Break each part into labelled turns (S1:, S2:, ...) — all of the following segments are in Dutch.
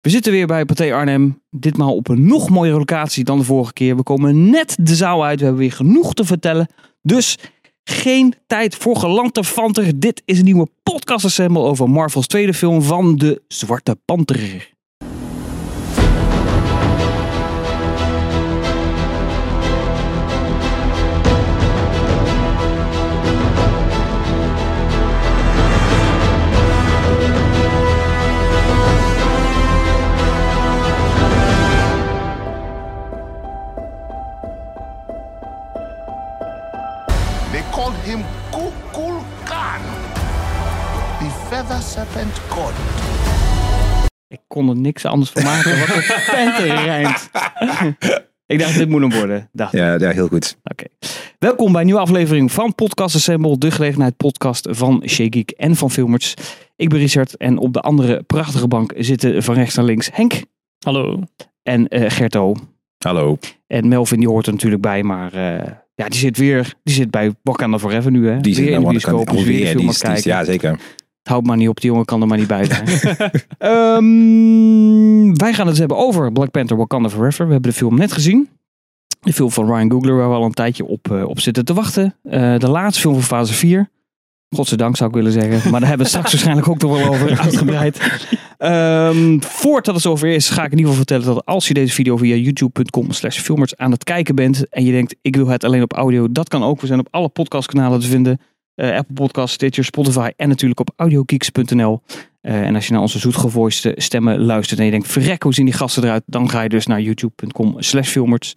S1: We zitten weer bij Pathé Arnhem. Ditmaal op een nog mooiere locatie dan de vorige keer. We komen net de zaal uit. We hebben weer genoeg te vertellen. Dus geen tijd voor gelanterfanter. Dit is een nieuwe podcast assemble over Marvel's tweede film van de Zwarte Panter.
S2: They call him Kukul Khan, the feather serpent god.
S1: Ik kon er niks anders van maken. Wat een panter rijmt. Ik dacht, dit moet hem worden. Dacht
S3: Ja, ja, heel goed.
S1: Oké. Welkom bij een nieuwe aflevering van Podcast Assemble, de gelegenheid podcast van Shea Geek en van Filmers. Ik ben Richard en op de andere prachtige bank zitten van rechts naar links Henk. Hallo. En eh Gerto.
S3: Hallo.
S1: En Melvin die hoort er natuurlijk bij, maar eh, ja, die zit weer die zit bij Wakanda Forever nu hè. weer
S3: Die zit
S1: in
S3: nou
S1: de
S3: aan de kant.
S1: bioscoop, dus weer
S3: Alweer,
S1: een film
S3: die
S1: aan het
S3: is- die is-
S1: kijken.
S3: Ja, zeker.
S1: Het houdt maar niet op, die jongen kan er maar niet bij zijn. Ehm, wij gaan het hebben over Black Panther Wakanda Forever. We hebben de film net gezien. De film van Ryan Googler, waar we al een tijdje op, eh, op zitten te wachten. Eh, de laatste film van fase 4. Godzijdank zou ik willen zeggen. Maar daar hebben we het straks waarschijnlijk ook nog wel over uitgebreid. Ehm, voordat het zover is, ga ik in ieder geval vertellen dat als je deze video via youtube.com slash filmers aan het kijken bent. En je denkt, ik wil het alleen op audio. Dat kan ook. We zijn op alle podcastkanalen te vinden. Eh, Apple Podcasts, Stitcher, Spotify en natuurlijk op audiogeeks.nl. Eh, en als je naar onze zoetgevoiste stemmen luistert en je denkt, verrek, hoe zien die gasten eruit? Dan ga je dus naar youtube.com slash filmers.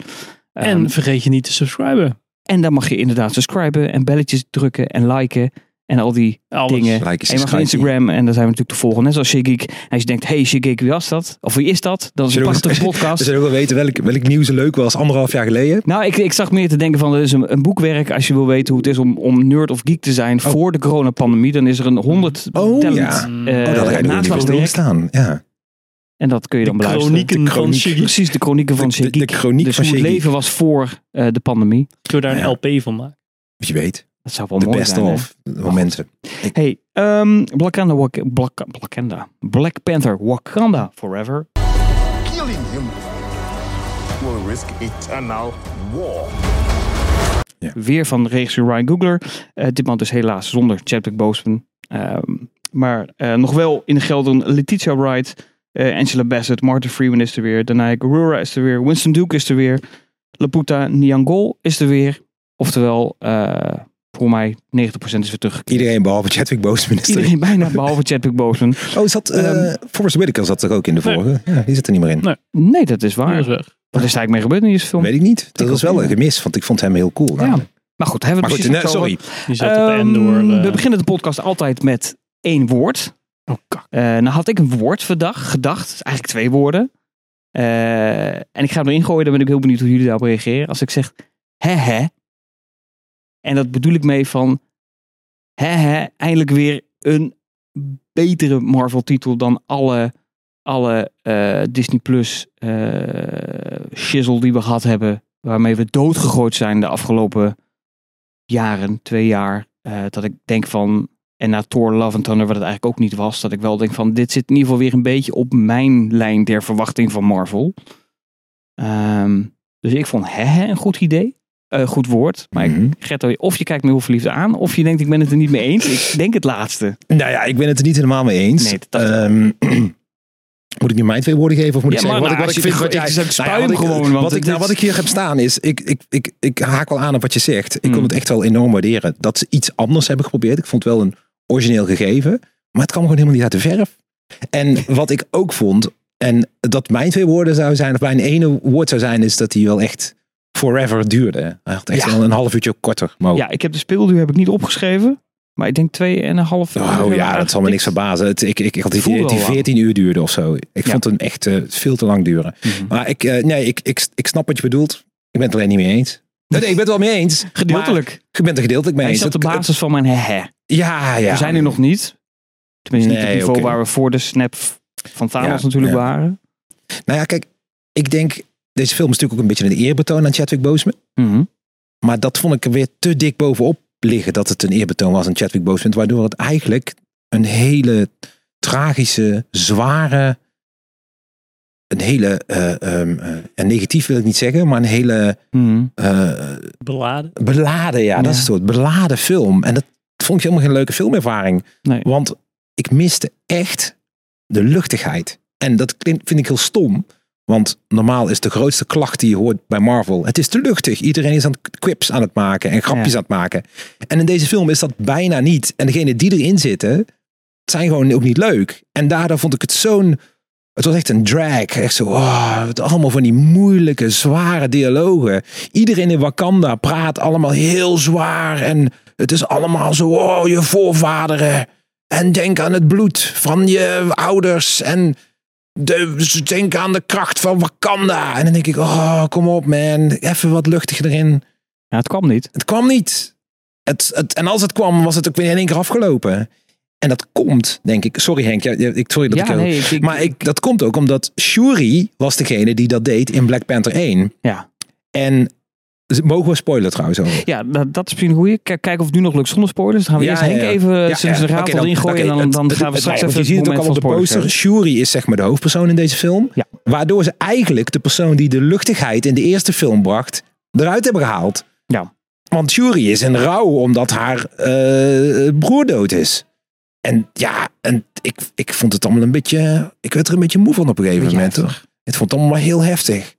S1: Ehm,
S4: En vergeet je niet te subscriben.
S1: en dan mag je inderdaad subscriben en belletjes drukken en liken. En al die
S4: Alles.
S1: dingen.
S3: Like is
S1: En je mag naar Instagram en daar zijn we natuurlijk te volgen. Net zoals Shigik. En als je denkt, hey Shigik, wie was dat? Of wie is dat? Dat is een
S3: Zullen we-
S1: prachtige podcast.
S3: Ze zullen wel weten welk, welk nieuws leuk was anderhalf jaar geleden. Oh,
S1: Nou, ik, ik zag meer te denken van, er is een, een boekwerk als je wil weten hoe het is om, om nerd of geek te zijn voor de coronapandemie. Dan is er een 100
S3: Oh,
S1: talent
S3: ja.
S1: eh,
S4: Oh,
S3: oh, dat had ik nog niet bij
S1: naslagwerk.
S3: stilgestaan. Ja.
S1: En dat kun je dan
S4: De
S1: beluisteren.
S4: chronieken
S3: De
S4: van
S3: chroniek.
S4: Shiggy.
S1: Precies, de chronieken van
S3: De- de-
S1: Shigik.
S3: de chroniek
S1: dus
S3: van
S1: hoe het
S3: Shea Geek.
S1: leven was voor eh, de pandemie.
S4: Kunnen we daar een LP van maken?
S3: Wie weet.
S1: Dat zou wel
S3: De
S1: Oh, mooi
S3: beste
S1: zijn. hè?
S3: of momenten.
S1: Hey, ehm Black, Panther, Wak- Black, Blackanda. Black Panther, Wakanda Forever.
S2: Killing him will risk eternal war.
S1: Weer van regisseur Ryan Googler. Eh, ditmaal dus helaas zonder Chadwick Boseman. Ehm, maar eh, nog wel in de gelden Letitia Wright, eh, Angela Bassett, Martin Freeman is er weer. Danai Gurura is er weer. Winston Duke is er weer. Laputa Nyong'o is er weer. Oftewel, eh, voor mij 90% is weer terug.
S3: Iedereen behalve Chadwick Boseman is er.
S1: Iedereen Ehm, bijna, behalve Chadwick Boseman.
S3: Oh, zat, eh Forrest Whitaker zat er ook in de
S4: Nee.
S3: vorige. Ja, die zit er niet meer in.
S1: Nou,
S4: Nee.
S1: Nee, dat is waar.
S4: Ja, is weg.
S1: Wat is er eigenlijk mee gebeurd in deze film?
S3: Weet ik niet. Dat
S1: Ik
S3: was
S1: ook
S3: wel
S1: niet.
S3: een gemis, want ik vond hem heel cool.
S1: Ja.
S3: namelijk.
S1: Maar goed, hebben we
S3: Maar goed,
S1: precies
S3: nee,
S1: niet over.
S3: sorry.
S4: Die zat op de
S1: Ehm,
S4: Endor. eh,
S1: We beginnen de podcast altijd met één woord.
S4: Oh, kak.
S1: Eh, nou had ik een woord vandaag gedacht, eigenlijk twee woorden. Eh, en ik ga hem erin gooien, dan ben ik heel benieuwd hoe jullie daarop reageren. Als ik zeg, hè hè. En dat bedoel ik mee van, hè hè, eindelijk weer een betere Marvel titel dan alle, alle eh, Disney Plus eh shizzle die we gehad hebben. Waarmee we doodgegooid zijn de afgelopen jaren, twee jaar. eh, dat ik denk van, en na Thor Love and Thunder, wat het eigenlijk ook niet was, dat ik wel denk van, dit zit in ieder geval weer een beetje op mijn lijn der verwachting van Marvel. Ehm, dus ik vond hè, hè een goed idee. Eh, goed woord. Maar ik
S3: Mhm.
S1: Gerto, of je kijkt me heel verliefd aan, of je denkt ik ben het er niet mee eens. Ik denk het laatste.
S3: Nou ja, ik ben het er niet helemaal mee eens.
S1: Nee, dat-
S3: Ehm, moet ik nu mijn twee woorden geven of moet ik
S1: Ja, maar nou,
S3: zeggen wat ik, wat
S1: als
S3: ik
S1: je-
S3: vind? wat
S1: ik-
S3: jij-
S1: ik spuim
S3: Nou ja, wat ik-
S1: gewoon, want
S3: wat,
S1: dit
S3: ik, nou,
S1: is-
S3: wat ik hier heb staan is, ik, ik, ik, ik haak wel aan op wat je zegt. Ik
S1: Mm.
S3: kon het echt wel enorm waarderen dat ze iets anders hebben geprobeerd. Ik vond het wel een origineel gegeven, maar het kwam gewoon helemaal niet uit de verf. En wat ik ook vond, en dat mijn twee woorden zou zijn, of mijn ene woord zou zijn, is dat hij wel echt forever duurde. Hij had echt
S1: Ja.
S3: wel een half uurtje korter mogen.
S1: Ja, ik heb de speelduur heb ik niet opgeschreven. Maar ik denk twee en een half.
S3: Oh ja, dat zal me niks verbazen. Het, ik, ik, ik had het idee
S1: Voelde
S3: dat die
S1: al aan.
S3: 14 uur duurde of zo. Ik
S1: Ja.
S3: vond hem echt eh, veel te lang duren.
S1: Mhm.
S3: Maar ik, eh, nee, ik, ik, ik snap wat je bedoelt. Ik ben het alleen niet mee eens. Nee, nee, ik ben het wel mee eens.
S1: Gedeeltelijk.
S3: maar Ik ben het er gedeeltelijk mee
S1: Hij
S3: eens.
S1: is op de
S3: Het-
S1: basis van mijn hè. hè.
S3: het- Ja, ja.
S1: We zijn er nog niet. Tenminste, niet op het
S3: Nee,
S1: niveau
S3: oké.
S1: waar we voor de snap van Thanos
S3: Ja,
S1: natuurlijk
S3: ja.
S1: waren.
S3: Nou ja, kijk, ik denk, deze film is natuurlijk ook een beetje een eerbetoon aan Chadwick Boseman.
S1: Mhm.
S3: Maar dat vond ik er weer te dik bovenop liggen dat het een eerbetoon was aan Chadwick Boseman. Waardoor het eigenlijk een hele tragische, zware hele, eh, ehm, eh, en negatief wil ik niet zeggen, maar een hele
S1: Hmm.
S3: eh,
S4: Beladen.
S3: beladen, ja, dat
S1: Ja.
S3: is het woord, beladen film. En dat vond ik helemaal geen leuke filmervaring.
S1: Nee.
S3: Want ik miste echt de luchtigheid. En dat klinkt, vind ik heel stom. Want normaal is de grootste klacht die je hoort bij Marvel. Het is te luchtig. Iedereen is aan het quips aan het maken en grapjes
S1: Ja.
S3: aan het maken. En in deze film is dat bijna niet. En degenen die erin zitten, zijn gewoon ook niet leuk. En daardoor vond ik het zo'n... Het was echt een drag. Echt zo, oh, het allemaal van die moeilijke, zware dialogen. Iedereen in Wakanda praat allemaal heel zwaar. En het is allemaal zo, oh, je voorvaderen. En denk aan het bloed van je ouders. En de, denk aan de kracht van Wakanda. En dan denk ik, oh, kom op man. Even wat luchtiger erin.
S1: Ja, het kwam niet.
S3: Het kwam niet. Het, het, en als het kwam, was het ook weer in één keer afgelopen. En dat komt, denk ik. Sorry Henk, ja, ja, ik, sorry dat
S1: ja,
S3: ik... jou-
S1: nee, ik, ik-
S3: maar ik, dat komt ook omdat Shuri was degene die dat deed in Black Panther 1.
S1: Ja.
S3: En ze- mogen we spoilen trouwens al?
S1: ja dat, dat is misschien een goeie. Kijk, kijken of het nu nog lukt zonder spoilers. Dan gaan we
S3: Ja,
S1: eerst
S3: ja,
S1: Henk
S3: ja.
S1: even
S3: Ja,
S1: zijn
S3: ja.
S1: zijn
S3: Oké,
S1: raadsel erin gooien.
S3: oké,
S1: en dan, dan
S3: het-
S1: gaan we
S3: het-
S1: straks
S3: want
S1: even
S3: Je ziet het ook al op
S1: moment
S3: de
S1: van spoilers
S3: poster.
S1: hebben.
S3: Shuri is zeg maar de hoofdpersoon in deze film.
S1: Ja.
S3: Waardoor ze eigenlijk de persoon die de luchtigheid in de eerste film bracht, eruit hebben gehaald.
S1: Ja.
S3: Want Shuri is in rouw omdat haar eh, broer dood is. En ja, en ik, ik vond het allemaal een beetje... Ik werd er een beetje moe van op een gegeven
S1: Beetje
S3: moment. Hoor. Ik vond het allemaal heel heftig.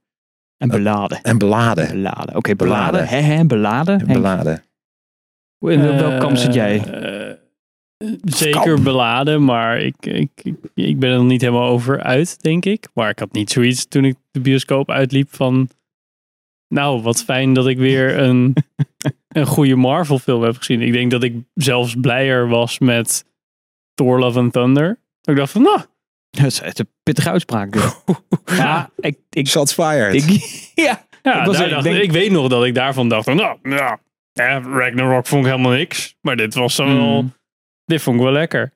S1: En beladen.
S3: En beladen.
S1: Beladen. Oké,
S3: Beladen.
S1: beladen. Hè, hè, beladen. Henk,
S3: Beladen.
S1: hoe- in welk kamp zit jij?
S4: Eh, eh, zeker beladen, maar ik, ik, ik, ik ben er nog niet helemaal over uit, denk ik. Maar ik had niet zoiets toen ik de bioscoop uitliep van... Nou, wat fijn dat ik weer een, een goede Marvel film heb gezien. Ik denk dat ik zelfs blijer was met Thor Love and Thunder. Dat ik dacht van, nou,
S1: Dat is echt een pittige uitspraak. dit. ja, ik, ik,
S3: Shots fired.
S1: ik- ja,
S4: ja,
S1: Ik
S4: ik,
S1: was er-
S4: dacht,
S1: ik denk-
S4: ik weet nog dat ik daarvan dacht, van, nou, ja, eh, Ragnarok vond ik helemaal niks. Maar dit was dan wel...
S1: Mm.
S4: Dit vond ik wel lekker.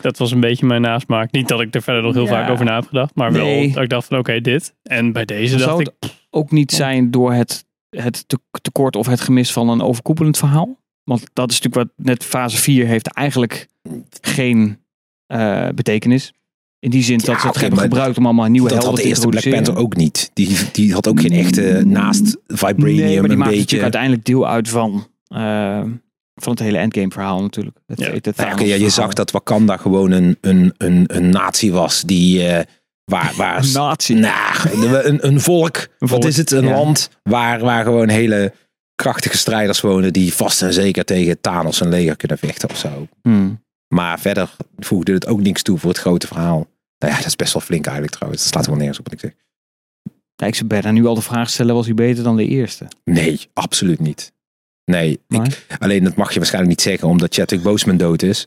S4: Dat was een beetje mijn nasmaak. Niet dat ik er verder nog heel
S1: Ja.
S4: vaak over na heb gedacht. Maar
S1: Nee.
S4: wel dat ik dacht van oké, dit. En bij deze dacht
S1: zou
S4: ik...
S1: het ook niet zijn door het, het te- tekort of het gemis van een overkoepelend verhaal? Want dat is natuurlijk wat net fase 4 heeft eigenlijk geen eh, betekenis. In die zin dat
S3: Ja,
S1: ze het
S3: oké,
S1: hebben
S3: maar
S1: gebruikt om allemaal nieuwe
S3: dat had
S1: helden
S3: de
S1: te
S3: eerste Black
S1: introduceren. Mm.
S3: Panther ook niet. Die, die had ook geen echte naast Vibranium
S1: nee, maar die
S3: een
S1: maakt
S3: beetje.
S1: natuurlijk uiteindelijk deel uit van, eh, van het hele endgame verhaal natuurlijk. Het,
S4: Ja.
S1: het, het
S3: Nou ja, oké,
S1: Thanos
S3: ja, je
S1: verhaal.
S3: zag dat Wakanda gewoon een, een, een, een natie was die eh, waar, waar
S1: Een natie.
S3: Nou, een, een volk.
S1: volk,
S3: Wat is het? Een
S1: ja.
S3: land waar, waar gewoon hele krachtige strijders wonen die vast en zeker tegen Thanos en leger kunnen vechten of zo.
S1: Hmm.
S3: Maar verder voegde het ook niks toe voor het grote verhaal. Nou ja, dat is best wel flink eigenlijk trouwens. Dat slaat wel nergens op wat ik zeg.
S1: Ja, ik zou bijna nu al de vraag stellen, was hij beter dan de eerste?
S3: Nee, absoluut niet. Nee, ik,
S1: Maar,
S3: Alleen dat mag je waarschijnlijk niet zeggen, omdat Chadwick Boseman dood is.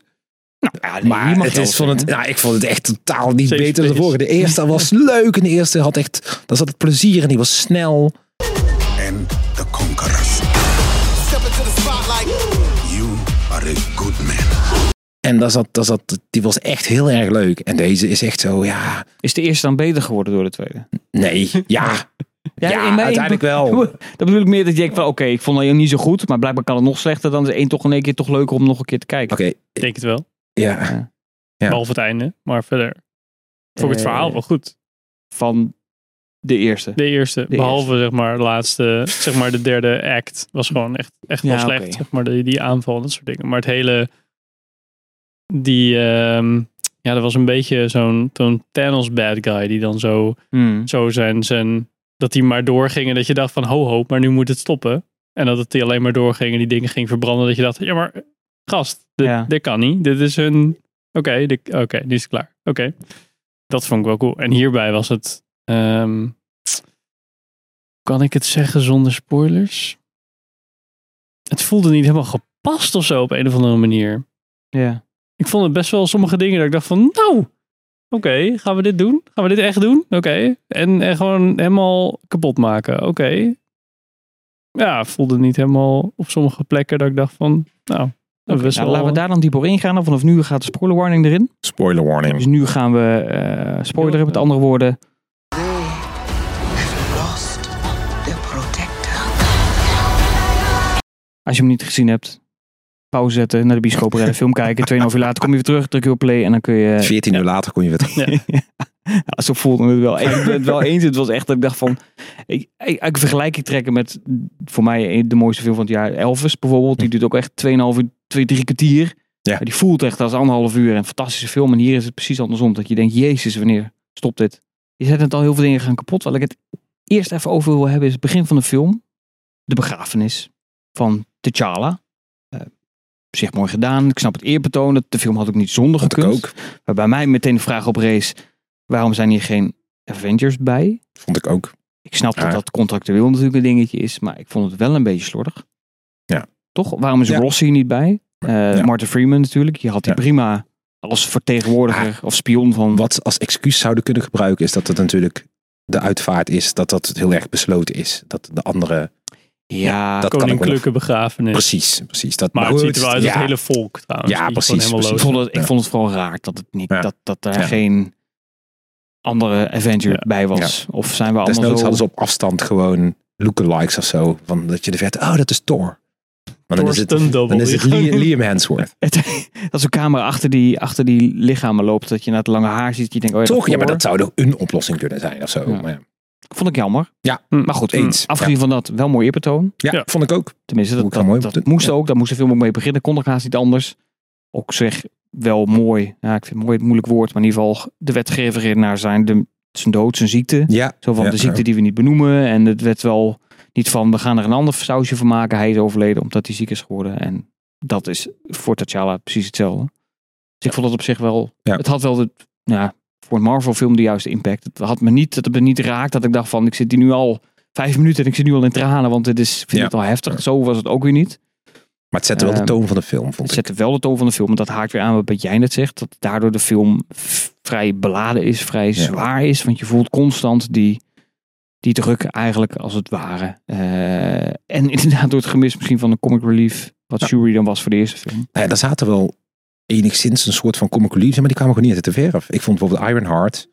S1: ja, Nou, nee, hier
S3: maar
S1: mag je
S3: het
S1: wel
S3: is van het,
S1: zeggen.
S3: nou, ik vond het echt totaal niet
S4: Safe
S3: beter dan de
S4: space.
S3: vorige. De eerste was leuk en de eerste had echt, daar zat het plezier en die was snel.
S2: and the conquerors.
S5: Step into the spotlight.
S2: You are a good man.
S3: En daar zat, daar zat, die was echt heel erg leuk. En deze is echt zo, ja,
S1: Is de eerste dan beter geworden door de tweede?
S3: nee, ja. Ja,
S1: in mijn-
S3: uiteindelijk wel.
S1: Dat bedoel ik meer dat je denkt van oké, ik vond het niet zo goed, maar blijkbaar kan het nog slechter dan de één toch in één keer toch leuker om nog een keer te kijken.
S3: Oké,
S4: Ik denk het wel.
S3: ja. Ja.
S4: Behalve het einde. Maar verder. Vond ik het
S1: Eh,
S4: verhaal wel goed.
S1: Van de eerste.
S4: De eerste.
S1: de
S4: behalve zeg maar de laatste. Zeg maar de derde act. Was gewoon echt, echt wel
S1: Ja,
S4: slecht.
S1: oké.
S4: Zeg maar die, die aanval en dat soort dingen. Maar het hele... Die... ehm, ja, dat was een beetje zo'n zo'n Thanos bad guy. Die dan zo...
S1: Hmm.
S4: zo zijn, zijn dat die maar doorgingen. Dat je dacht van ho ho, maar nu moet het stoppen. En dat het die alleen maar doorgingen, die dingen ging verbranden. Dat je dacht, ja maar gast, dit,
S1: Ja.
S4: dit kan niet. Dit is hun, oké, dit oké, nu is het klaar. Oké, dat vond ik wel cool. En hierbij was het, ehm, kan ik het zeggen zonder spoilers? Het voelde niet helemaal gepast of zo op een of andere manier
S1: Ja.
S4: ik vond het best wel sommige dingen dat ik dacht van, nou, oké, gaan we dit doen? Gaan we dit echt doen? Oké. En, en gewoon helemaal kapot maken. Oké. Ja, voelde niet helemaal op sommige plekken dat ik dacht van, nou, dat is best
S1: Nou,
S4: wel...
S1: laten we daar dan dieper op ingaan. En Vanaf nu gaat de spoiler warning erin.
S3: Spoiler warning.
S1: Dus nu gaan we eh spoileren met andere woorden.
S5: They have lost their protector.
S1: Als je hem niet gezien hebt, pauze zetten, naar de bioscoop rennen, film kijken. 2,5 uur later kom je weer terug, druk je op play en dan kun je...
S3: 14 uur later kon je weer terug.
S4: Ja.
S1: Ja, zo voelde het wel. Ik ben het wel eens. Het was echt dat ik dacht van... Ik, ik, ik vergelijk ik trekken met voor mij een- de mooiste film van het jaar. Elvis bijvoorbeeld. Die duurt ook echt 2,5 uur, 2, 3 kwartier.
S3: Ja.
S1: Die voelt echt als anderhalf uur. Een fantastische film. En hier is het precies andersom. Dat je denkt, jezus, wanneer stopt dit? Je zet net al heel veel dingen gaan kapot. Wat ik het eerst even over wil hebben is het begin van de film. De begrafenis van T'Challa. Eh, op zich mooi gedaan. Ik snap het eerbetoon. Dat- De film had ook niet zonder
S3: Vond ik
S1: gekund.
S3: ook.
S1: Waarbij mij meteen de vraag op race, waarom zijn hier geen Avengers bij?
S3: Vond ik ook.
S1: Ik snap dat
S3: Ja.
S1: dat contractueel natuurlijk een dingetje is, maar ik vond het wel een beetje slordig.
S3: Ja.
S1: Toch? Waarom is
S3: Ja.
S1: Ross hier niet bij? Eh
S3: Ja.
S1: Martin Freeman natuurlijk, die had die
S3: Ja. Ah.
S1: prima als vertegenwoordiger of spion van...
S3: Wat ze als excuus zouden kunnen gebruiken is dat het natuurlijk de uitvaart is. Dat dat heel erg besloten is. Dat de andere...
S1: Ja,
S3: dat- kan ik wel
S4: Koninklijke begrafenis.
S3: Precies, precies. Dat,
S4: Maar het ziet er wel uit als
S3: ja,
S4: het hele volk trouwens.
S3: Ja,
S4: Die is
S3: precies,
S4: gewoon
S1: ik,
S4: helemaal
S1: vond het, ik
S3: Ja.
S1: vond het vooral raar dat, het niet,
S3: Ja.
S1: dat, dat daar
S3: Ja.
S1: geen andere Avenger
S4: Ja.
S1: bij was. Of zijn we allemaal
S3: Desnoods
S1: zo...
S3: hadden ze op afstand gewoon lookalikes of zo. Van dat je de verte, oh dat is Thor. Maar dan is het,
S4: Thorsten Double.
S3: dan is het Li- Liam Hemsworth.
S1: Het- dat zo'n camera achter die, achter die lichamen loopt. Dat je naar het lange haar ziet. Je denkt, oh ja,
S3: Toch? Ja, maar
S1: Thor.
S3: dat zou toch een oplossing kunnen zijn of zo.
S1: Ja.
S3: Maar ja.
S1: Vond ik jammer.
S3: Ja,
S4: Mm.
S1: maar goed.
S3: eens.
S1: Afgezien van dat, wel mooi eerbetoon.
S3: Ja,
S4: hmm, Ja.
S3: vond ik ook.
S1: Tenminste, dat,
S3: Moet ik
S1: dat,
S3: wel mooi
S1: dat
S3: doen.
S1: moest
S3: Ja.
S1: ook. Daar moest de film ook mee beginnen. Kon ook haast niet anders. Ook zeg, wel mooi. Ja, ik vind mooi het moeilijk woord. Maar in ieder geval de wetgever in naar zijn, de, zijn dood, zijn ziekte.
S3: Ja,
S1: Zo van dus
S3: Ja,
S1: de ziekte
S3: ja.
S1: die we niet benoemen. En het werd wel niet van, we gaan er een ander sausje van maken. Hij is overleden omdat hij ziek is geworden. En dat is voor T'Challa precies hetzelfde. Dus ik vond dat op zich wel...
S3: Ja.
S1: Het had wel de, nou ja, voor een Marvel film de juiste impact. Het had me niet, dat het me niet raakt dat ik dacht van, ik zit hier nu al vijf minuten en ik zit nu al in tranen. Want dit is, vind
S3: Ja.
S1: het al heftig. Zo was het ook weer niet.
S3: maar het zette wel de
S1: Ehm,
S3: toon van de film, vond
S1: Het
S3: ik.
S1: zette wel de toon van de film. En dat haakt weer aan wat jij net zegt. Dat daardoor de film v- vrij beladen is, vrij zwaar is. Want je voelt constant die, die druk eigenlijk als het ware. Eh, en inderdaad door het gemis misschien van de comic relief. Wat Shuri dan was voor de eerste film.
S3: Nou ja, daar zaten wel enigszins een soort van comic relief in, maar die kwamen gewoon niet uit de verf. Ik vond bijvoorbeeld Ironheart,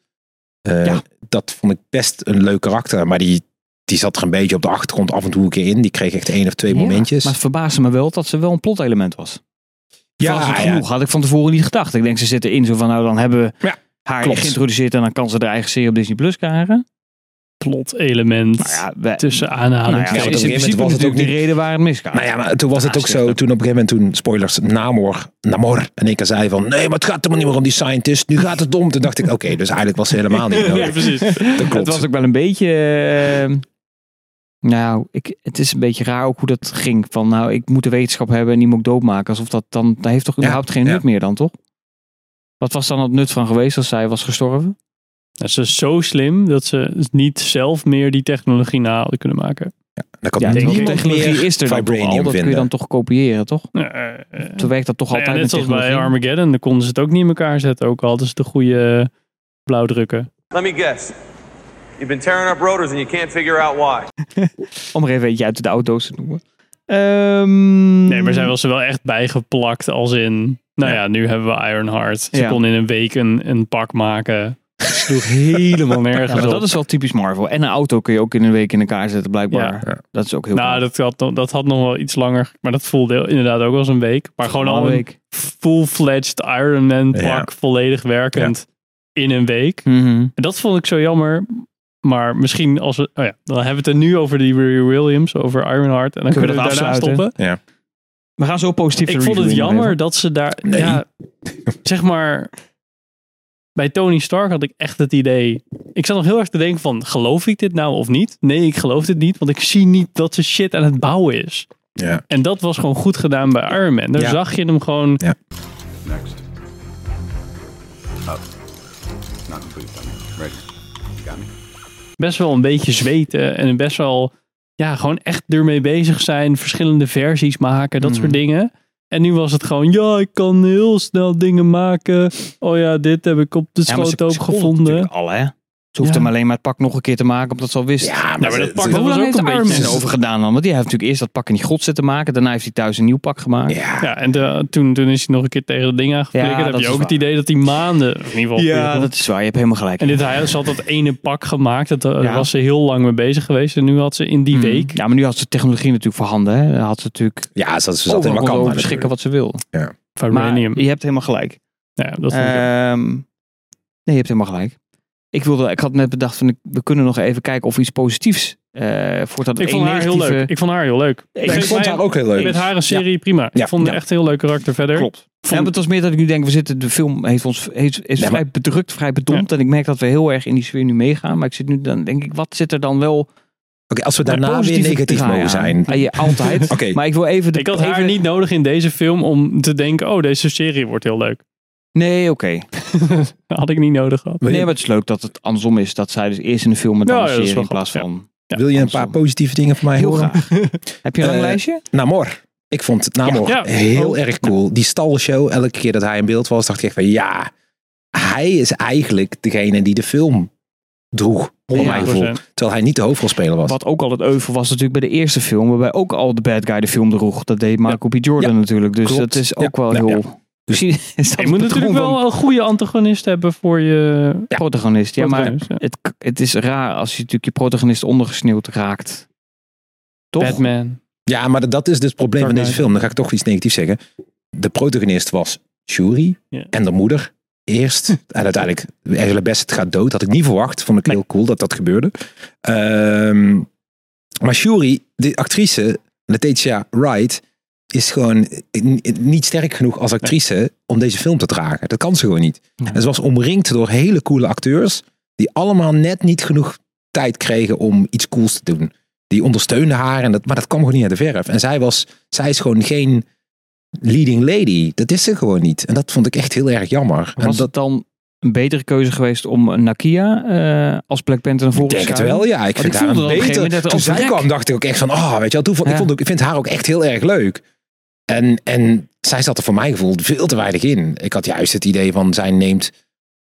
S3: eh,
S1: Ja.
S3: dat vond ik best een leuk karakter, maar die, die zat er een beetje op de achtergrond af en toe een keer in. Die kreeg echt één of twee momentjes.
S1: Maar het verbaasde me wel dat ze wel een plotelement was. Verrassend
S3: ja,
S1: genoeg. Had ik van tevoren niet gedacht. Ik denk ze zitten in zo van nou dan hebben we
S3: Ja,
S1: haar
S3: klopt.
S1: geïntroduceerd. En dan kan ze haar eigen serie op Disney Plus krijgen.
S4: plot element
S1: Nou ja, we,
S4: tussen
S1: nou
S4: aanhalingen.
S1: ja,
S3: op
S1: is
S3: een
S1: in
S3: gegeven moment
S1: principe
S3: was het
S1: natuurlijk
S3: ook
S1: de reden waar het misgaat.
S3: Nou ja, maar toen was het ook zo, toen op een gegeven moment, toen, spoilers, Namor, Namor en ik zei van, nee, maar het gaat helemaal niet meer om die scientist, nu gaat het om. Toen dacht ik, oké, dus eigenlijk was ze helemaal niet nodig.
S4: Ja, precies.
S3: Dat klopt.
S1: Het was ook wel een beetje. eh, nou, ik, het is een beetje raar ook hoe dat ging. Van nou, ik moet de wetenschap hebben en die moet ik doodmaken. Alsof dat dan. Daar heeft toch überhaupt geen
S3: ja.
S1: nut meer dan, toch? Wat was dan het nut van geweest als zij was gestorven?
S4: Ja, ze is zo slim dat ze niet zelf meer die technologie na hadden kunnen maken.
S3: Dan kan
S1: Ja,
S4: denk
S1: die
S4: ik.
S3: niemand
S1: technologie
S3: meer
S1: is er dan toch al.
S3: vibranium
S1: Dat kun je
S3: vinden.
S1: dan toch kopiëren, toch?
S4: Ja, eh, eh.
S1: Toen werkt dat toch
S4: Nou
S1: altijd
S4: ja, net
S1: met
S4: zoals bij
S1: technologie?
S4: Armageddon, dan konden ze het ook niet in elkaar zetten. Ook al hadden ze de goede blauwdrukken.
S6: Let me guess. You've been tearing up rotors and you can't figure out why.
S1: Om er even eentje uit de auto's te noemen. Ehm,
S4: Nee, maar zij was er wel echt bijgeplakt als in... Nou Mm. ja, nu hebben we Ironheart. Ze
S1: Ja.
S4: kon in een week een, een pak maken. Ze sloeg helemaal
S1: Ja,
S4: nergens
S1: maar
S4: op.
S1: dat is wel typisch Marvel. En een auto kun je ook in een week in elkaar zetten, blijkbaar. Dat is ook heel knap.
S4: Nou, dat had, nog- dat had nog wel iets langer. Maar dat voelde inderdaad ook als een week. Maar gewoon
S1: Allemaal
S4: al een
S1: week.
S4: full-fledged Iron Man pak.
S3: Ja.
S4: Volledig werkend. In een week.
S1: Mhm.
S4: En dat vond ik zo jammer. Maar misschien als we... Oh ja, dan hebben we het er nu over die Riri Williams. Over Ironheart. En dan kunnen we,
S1: dat
S4: daarna
S1: afsluiten?
S4: stoppen.
S1: We gaan zo positief de
S4: Ik vond het
S1: review in
S4: jammer
S1: geven.
S4: dat ze daar...
S3: Nee.
S4: Ja, zeg maar... Bij Tony Stark had ik echt het idee... Ik zat nog heel erg te denken van... Geloof ik dit nou of niet? Nee, ik geloof dit niet. Want ik zie niet dat ze shit aan het bouwen is.
S3: Ja.
S4: En dat was gewoon goed gedaan bij Iron Man. Daar
S3: Ja.
S4: zag je hem gewoon...
S3: Ja.
S2: Next. Up. Not complete, dummy. Right here. You got me?
S4: best wel een beetje zweten en best wel, ja, gewoon echt ermee bezig zijn, verschillende versies maken, dat
S1: Mhm.
S4: soort dingen. En nu was het gewoon, ja, ik kan heel snel dingen maken. Oh ja, dit heb ik op de
S1: Ja, maar ze-
S4: schoot ook
S1: ze konden
S4: gevonden.
S1: natuurlijk Al, hè? Ze hoeft
S4: Ja.
S1: hem alleen maar het pak nog een keer te maken, omdat ze al wist.
S3: Ja, maar,
S4: maar dat
S3: ze-
S4: pakt
S3: ze-
S1: Maar
S4: wel
S1: hoe
S4: was
S1: lang
S4: ook
S1: heeft
S4: een
S1: Iron
S4: beetje-
S1: Man over gedaan dan? Want die heeft natuurlijk eerst dat pak in die god zitten maken. Daarna heeft hij thuis een nieuw pak gemaakt.
S3: Ja,
S4: Ja, en de- toen, toen is hij nog een keer tegen dat ding aangeflikkerd.
S1: Ja,
S4: Dan heb
S1: dat
S4: je
S1: is
S4: ook het
S1: waar.
S4: idee dat hij maanden, in ieder geval.
S1: Ja, dat is waar. Je hebt helemaal gelijk.
S4: En dit, hij had dat ene pak gemaakt. Dat, eh, Daar
S1: Ja.
S4: was ze heel lang mee bezig geweest. En nu had ze in die
S1: Mhm.
S4: week
S1: Ja, maar nu had ze technologie natuurlijk voorhanden. Hè? Dan had ze natuurlijk
S3: ja ze, ze zat in
S1: overal kon
S3: Wakanda.
S1: over beschikken wat ze wil. Maar eh,
S4: vibranium.
S1: je hebt helemaal gelijk.
S4: ja, dat vond ik-
S1: Ehm, nee, je hebt helemaal gelijk. Ik, wilde, ik had net bedacht van we kunnen nog even kijken of we iets positiefs eh voor dat
S4: Ik vond haar heel leuk. Ik vond haar heel leuk.
S1: ik
S3: ik
S1: vind
S3: vond
S4: mij-
S3: haar ook heel
S4: Met
S3: leuk.
S4: haar een serie prima.
S3: Ja,
S4: ik vond het
S3: ja.
S4: echt een heel leuk karakter verder.
S1: Klopt. Ja, maar
S4: Vond-
S1: het was meer dat ik nu denk, we zitten, de film heeft ons heeft, is
S3: maar-
S1: vrij bedrukt, vrij bedompt. En ik merk dat we heel erg in die sfeer nu meegaan. Maar ik zit nu dan, denk ik, wat zit er dan wel
S3: Oké, als we daarna weer
S1: positieve
S3: negatief
S1: draai
S3: mogen
S1: aan?
S3: zijn.
S1: Ah, ja, altijd.
S3: Oké,
S1: Maar ik wil even... De,
S4: Ik had haar
S1: even-
S4: niet nodig in deze film om te denken, oh, deze serie wordt heel leuk.
S1: Nee, oké.
S4: Dat had ik niet nodig gehad.
S1: Nee, maar het is leuk dat het andersom is. Dat zij dus eerst in de film en dan
S4: Ja,
S1: een
S4: ja, dat is
S1: serie
S4: wel
S1: in plaats
S4: grappig,
S1: van...
S3: wil je een paar
S1: andersom.
S3: positieve dingen van mij
S1: Heel
S3: horen?
S1: graag. Heb je een lang
S3: Eh,
S1: lijstje?
S3: Namor. Ik vond het Namor
S4: Ja. Ja.
S3: heel
S4: Oh.
S3: erg cool. Die stalshow, elke keer dat hij in beeld was, dacht ik echt van ja, hij is eigenlijk degene die de film droeg. Onder mijn gevoel.
S4: 100%.
S3: Terwijl hij niet de hoofdrolspeler was.
S1: Wat ook al het euvel was natuurlijk bij de eerste film, waarbij ook al de bad guy de film droeg. Dat deed Marco B. Jordan natuurlijk. Dus
S3: Klopt.
S1: dat is ook
S3: Ja.
S1: wel
S3: Ja,
S1: heel... Misschien is dat
S4: Je moet
S1: het
S4: natuurlijk
S1: patroon
S4: wel een goede antagonist hebben voor je
S1: van protagonist. Ja, maar
S4: protagonist, ja.
S1: het, het is raar als je natuurlijk je protagonist ondergesneeuwd raakt. Toch?
S4: Batman.
S3: Ja, maar dat is dus het probleem
S4: Dark
S3: van deze
S4: Knight.
S3: film. Dan ga ik toch iets negatiefs zeggen. De protagonist was Shuri
S4: Ja.
S3: en de moeder. Eerst. En uiteindelijk, Angela Bassett gaat dood. Had ik niet verwacht. Vond ik heel cool dat dat gebeurde. Ehm, maar Shuri, de actrice, Letitia Wright, is gewoon n- niet sterk genoeg als actrice om deze film te dragen. Dat kan ze gewoon niet.
S1: Nee.
S3: En ze was omringd door hele coole acteurs, die allemaal net niet genoeg tijd kregen om iets cools te doen. Die ondersteunden haar, en dat, maar dat kwam gewoon niet uit de verf. En zij, was, zij is gewoon geen leading lady. Dat is ze gewoon niet. En dat vond ik echt heel erg jammer. En
S1: Was
S3: dat,
S1: het dan een betere keuze geweest om Nakia eh, als Black Panther naar voren te
S3: Ik denk het
S1: schuiven?
S3: wel, ja. Ik
S1: Want
S3: vind
S1: ik
S3: haar
S1: voelde
S3: een
S1: dat op een gegeven
S3: beter...
S1: moment dat
S3: toen
S1: als
S3: zij
S1: rek.
S3: kwam, dacht ik ook echt van... Oh, weet je wel, toen vond,
S1: Ja.
S3: ik, vond ook, ik vind haar ook echt heel erg leuk. En, en zij zat er voor mijn gevoel veel te weinig in. Ik had juist het idee van, zij neemt...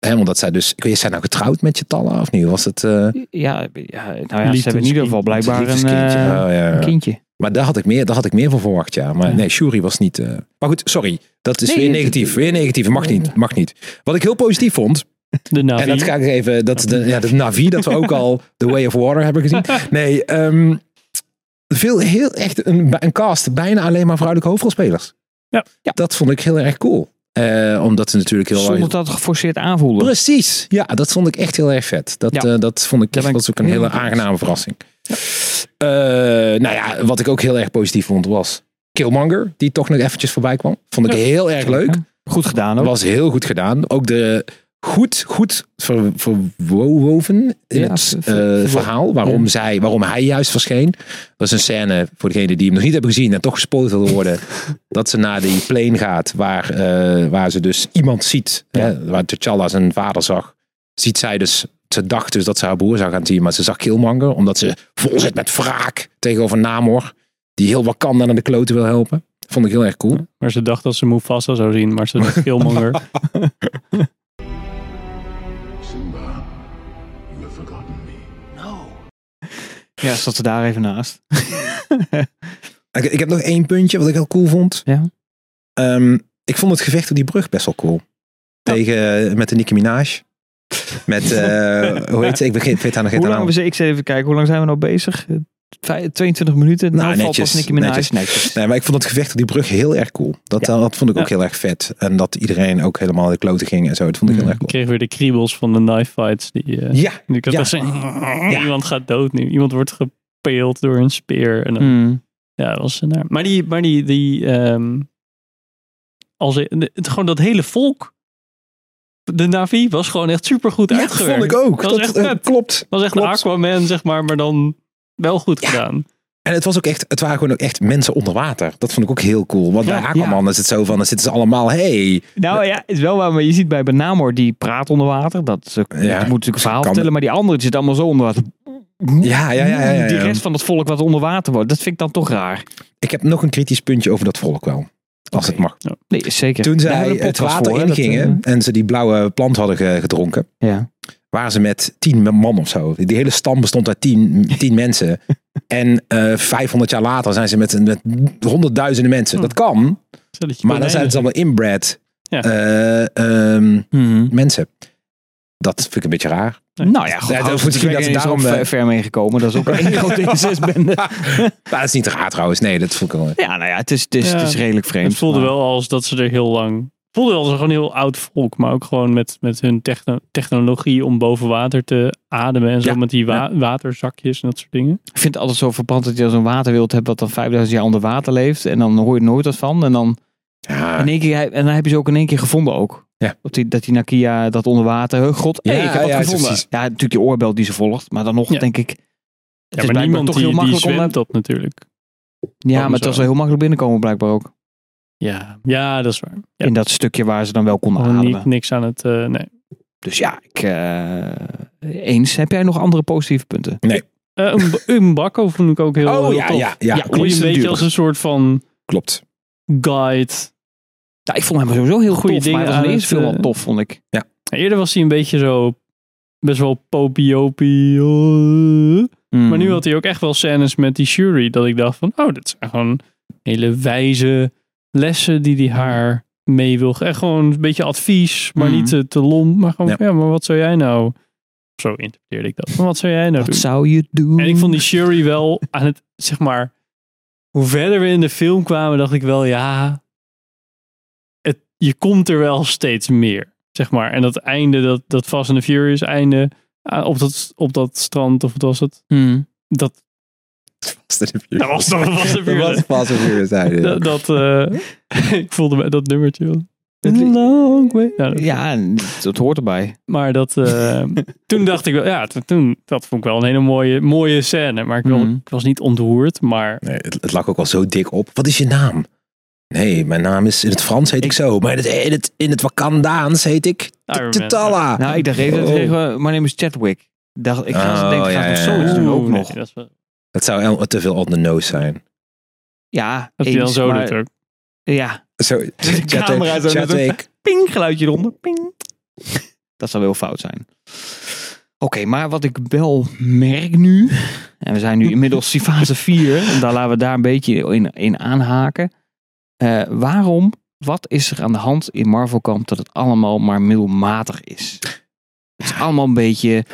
S3: Hè, omdat zij dus... Ik weet, is zij nou getrouwd met Chatalla of niet? Was het... eh,
S1: Ja, ja, nou ja, ze
S4: Liefdeskind.
S1: hebben in ieder geval blijkbaar een,
S3: liefdeskindje?
S1: eh,
S3: Oh, ja,
S1: een
S3: ja.
S1: kindje.
S3: Maar daar had ik meer, daar had ik meer van verwacht, ja. Maar nee, Shuri was niet... eh, Maar goed, sorry. Dat is
S1: Nee,
S3: weer
S1: het-
S3: negatief. Weer negatief. Mag niet. Mag niet. Wat ik heel positief vond...
S4: De Navi.
S3: En dat ga ik even, dat, de, ja, de Navi, dat we ook al The Way of Water hebben gezien. Nee, ehm, veel, heel echt een, een cast, bijna alleen maar vrouwelijke hoofdrolspelers.
S4: Ja.
S3: Dat vond ik heel erg cool. Eh, omdat ze natuurlijk heel
S1: Zonder dat het geforceerd aanvoelde.
S3: Precies, ja, dat vond ik echt heel erg vet. Dat,
S1: Ja.
S3: eh, dat vond ik,
S1: Daar ben
S3: dat
S1: ik
S3: was ook een
S1: heel
S3: hele
S1: erg mee eens.
S3: aangename verrassing. Eh, nou ja, wat ik ook heel erg positief vond was Killmonger, die toch nog eventjes voorbij kwam. Vond ik heel erg leuk.
S1: Goed gedaan ook.
S3: Was heel goed gedaan. Ook de goed, goed ver, verwoven in
S1: Ja,
S3: het
S1: ver-
S3: eh,
S1: ver-
S3: verhaal. Waarom, zij, waarom hij juist verscheen. Dat is een scène voor degene die hem nog niet hebben gezien en toch gespoord willen worden. dat ze naar die plane gaat waar, eh, waar ze dus iemand ziet. Hè, waar T'Challa zijn vader zag. Ziet zij dus, ze dacht dus dat ze haar broer zou gaan zien. Maar ze zag Killmonger omdat ze vol zit met wraak tegenover Namor. Die heel Wakanda naar de kloten wil helpen. Vond ik heel erg cool.
S4: Maar ze dacht dat ze Mufasa zou zien, maar ze dacht
S3: Oh.
S4: Killmonger.
S2: Simba, you have forgotten me.
S1: Ja, zat ze daar even naast.
S3: Ik, ik heb nog één puntje wat ik heel cool vond.
S1: Ja.
S3: Ehm, ik vond het gevecht op die brug best wel cool. Tegen, eh, met de Nicki Minaj. Met, eh, hoe heet ze? Ik begin- ik weet haar nog geen
S1: Hoe lang
S3: naam.
S1: we ze, ik zei even kijken, hoe lang zijn we nou bezig? Eh, vij- 22 minuten. Nou, valt
S3: netjes,
S1: pas Nicki Minaj.
S3: netjes.
S1: Netjes.
S3: Nee, maar ik vond het gevecht op die brug heel erg cool. Dat, dat vond ik ook heel erg vet. En dat iedereen ook helemaal de kloten ging en zo. Dat vond ik heel
S1: Mm.
S3: erg
S4: Ik
S3: cool.
S4: kreeg weer de kriebels van de knife fights. Die, eh,
S3: Ja,
S4: ik had
S3: ja.
S4: dat ze- Iemand gaat dood nu. Iemand wordt gepeeld door een speer. En dan-
S1: Mm.
S4: Ja, dat was naar. Maar die, maar die, die ehm, als, het, gewoon dat hele volk, de Navi, was gewoon echt super goed
S3: Ja, dat
S4: uitgewerkt.
S3: vond ik ook. Dat,
S4: Dat was echt
S3: eh,
S4: vet.
S3: klopt.
S4: Dat was echt een
S3: Klopt.
S4: Aquaman, zeg maar, maar dan wel goed gedaan.
S3: En het was ook echt, het waren gewoon ook echt mensen onder water. Dat vond ik ook heel cool. Want bij
S1: Ja,
S3: Aquaman is het zo van, dan zitten ze allemaal, hey,
S1: Nou ja, is wel waar. Maar je ziet bij Benamor, die praat onder water. Dat, is ook-
S3: Ja.
S1: dat moet natuurlijk een verhaal
S3: Kan-
S1: vertellen. Maar die andere die zit allemaal zo onder water.
S3: Ja, ja, ja, ja, ja.
S1: Mm, Die rest van het volk wat onder water wordt. Dat vind ik dan toch raar.
S3: Ik heb nog een kritisch puntje over dat volk wel. Als het mag.
S1: Nee, zeker.
S3: Toen
S1: Daar
S3: zij
S1: hebben we een
S3: het
S1: podcast
S3: water
S1: voor, hè, dat,
S3: ingingen en ze die blauwe plant hadden ge- gedronken,
S1: eh, ja.
S3: waren ze met tien man of zo. Die hele stam bestond uit tien, tien mensen. En eh 500 jaar later zijn ze met, met honderdduizenden mensen. Dat kan,
S4: Stelletje
S3: maar dan zijn
S4: konijnen.
S3: het allemaal inbred
S4: Ja.
S3: eh, ehm,
S1: Mhm.
S3: mensen. Dat vind ik een beetje raar.
S1: Nou ja, goed.
S3: Ja, dat
S1: House
S3: is
S1: of
S3: misschien
S1: Dragon
S3: dat ze
S1: is
S3: daarom,
S1: al
S3: eh,
S1: ver- ver mee gekomen. Dat is ook een grote incestbende.
S3: Maar dat is niet raar trouwens. Nee, dat vond ik wel.
S1: Ja, nou ja, het is, het is,
S4: Ja.
S1: het is redelijk vreemd.
S4: Het voelde
S1: maar-
S4: wel als dat ze er heel lang voelde als een gewoon heel oud volk, maar ook gewoon met, met hun techno- technologie om boven water te ademen en zo
S1: Ja,
S4: met die wa- waterzakjes en dat soort dingen.
S1: Ik vind het altijd zo verbrand dat je dan zo'n waterwild hebt dat dan 5000 jaar onder water leeft. En dan hoor je nooit wat van. En dan,
S3: Ja,
S1: in één keer, en dan heb je ze ook in één keer gevonden ook.
S3: Ja.
S1: Op die, dat die Nakia dat onder water. huh, God,
S3: Ja,
S1: hey, ik heb wat
S3: ja,
S1: gevonden.
S3: precies.
S1: Ja, natuurlijk die oorbel die ze volgt. Maar dan nog
S4: Ja.
S1: denk ik. Het
S4: Ja,
S1: is
S4: maar
S1: blijkbaar
S4: niemand
S1: toch
S4: die,
S1: heel makkelijk
S4: die
S1: om-
S4: zwemt op natuurlijk.
S1: Ja,
S4: Kan
S1: maar het was
S4: zo.
S1: wel heel makkelijk binnenkomen blijkbaar ook.
S4: Ja, ja dat is waar. Ja.
S1: In dat stukje waar ze dan wel konden
S4: Gewoon
S1: ademen.
S4: Oh, niet, niks aan het... eh, nee.
S1: Dus ja, ik, eh, eens. Heb jij nog andere positieve punten?
S4: Eh, een, b- een bakko vond ik ook heel,
S3: Oh
S4: heel
S3: ja,
S4: tof.
S3: ja, ja.
S1: Ja,
S4: Die een
S1: Klopt.
S4: beetje als een soort van
S3: Klopt.
S4: guide.
S1: Ja, ik vond hem sowieso heel
S4: Goeie
S1: goed. tof. Maar
S4: dingen
S1: hij was in de
S4: aan
S1: eerste
S4: het,
S1: film al
S4: eh,
S1: tof, vond ik.
S4: Nou, Eerder was hij een beetje zo best wel popiopie. eh.
S3: Mm.
S4: Maar nu had hij ook echt wel scènes met die Shuri. Dat ik dacht van, oh, dat zijn gewoon hele wijze lessen die hij haar mee wil. ge- Echt gewoon een beetje advies, maar
S1: Mhm.
S4: niet te, te lomp. Maar gewoon,
S3: Mm. Ja.
S4: ja. maar wat zou jij nou... Zo interpreteerde ik dat. Maar wat zou jij nou
S1: Wat
S4: doen?
S1: zou je doen?
S4: En ik vond die Shuri wel aan het, zeg maar, hoe verder we in de film kwamen, dacht ik wel, ja, het, je komt er wel steeds meer, zeg maar. En dat einde, dat, dat Fast and the Furious einde ah, op dat, op dat strand, of wat was het?
S1: Hmm.
S4: Dat, dat was toch Fast
S3: Dat was
S4: and Furious.
S3: pas een uur, zei hij.
S4: Dat, dat eh, ik voelde me dat nummertje wel.
S1: Dat li-
S4: Long way. Nou, dat-
S1: Ja, en dat, dat hoort erbij.
S4: maar dat, eh, toen dacht ik wel, ja, t- toen, dat vond ik wel een hele mooie, mooie scène. Maar ik, wel-
S1: Mhm.
S4: ik was niet ontroerd, maar
S3: Nee, het, het lag ook al zo dik op. Wat is je naam? Nee, mijn naam is in het Frans heet ik, zo, maar in het, in het, in het Wakandaans heet
S1: Ah,
S3: ik
S4: Iron Man,
S3: Tatala.
S1: Nou, ik dacht even,
S3: Oh.
S1: tegen, my name is Chadwick. Dacht, ik ga
S3: Oh,
S1: ze denken, ga
S3: ja,
S1: ik nog
S3: ja,
S1: zo
S3: ja.
S1: iets doen Eh, ook
S4: Oeh, nee,
S1: nog.
S4: dat is wel-
S3: Dat zou el- te veel on the nose zijn.
S1: Ja,
S4: Dat hij
S1: eens,
S4: dan zo
S1: maar-
S4: doet ook.
S1: Ja,
S3: Zo,
S1: de camera zo net
S3: Chadwick.
S1: ping, geluidje eronder, ping. Dat zou heel fout zijn. Oké, maar wat ik wel merk nu, en we zijn nu inmiddels in fase 4, en daar laten we daar een beetje in, in aanhaken. Eh, waarom, wat is er aan de hand in Marvel Camp dat het allemaal maar middelmatig is? Het is allemaal een beetje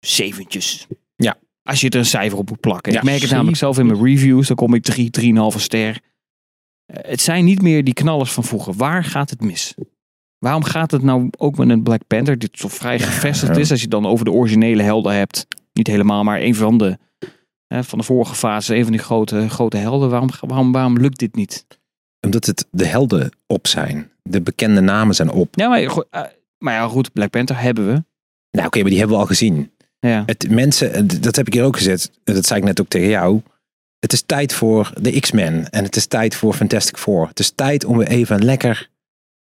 S1: zeventjes.
S3: Ja.
S1: Als je er een cijfer op moet plakken.
S3: Ja,
S1: ik merk het namelijk zelf in mijn reviews, dan kom ik 3, drie, 3,5 ster. Eh, Het zijn niet meer die knallers van vroeger. Waar gaat het mis? Waarom gaat het nou ook met een Black Panther, die zo vrij gevestigd is, als je het dan over de originele helden hebt? Niet helemaal, maar een van de, hè, van de vorige fase, een van die grote, grote helden. Waarom, waarom, waarom lukt dit niet?
S3: Omdat het de helden op zijn. De bekende namen zijn op.
S1: Ja, maar, go- eh, maar ja, goed, Black Panther hebben we.
S3: Nou oké, maar die hebben we al gezien.
S1: Ja.
S3: Het, mensen, en d- dat heb ik hier ook gezet. Dat zei ik net ook tegen jou. Het is tijd voor de X-Men. En het is tijd voor Fantastic Four. Het is tijd om weer even lekker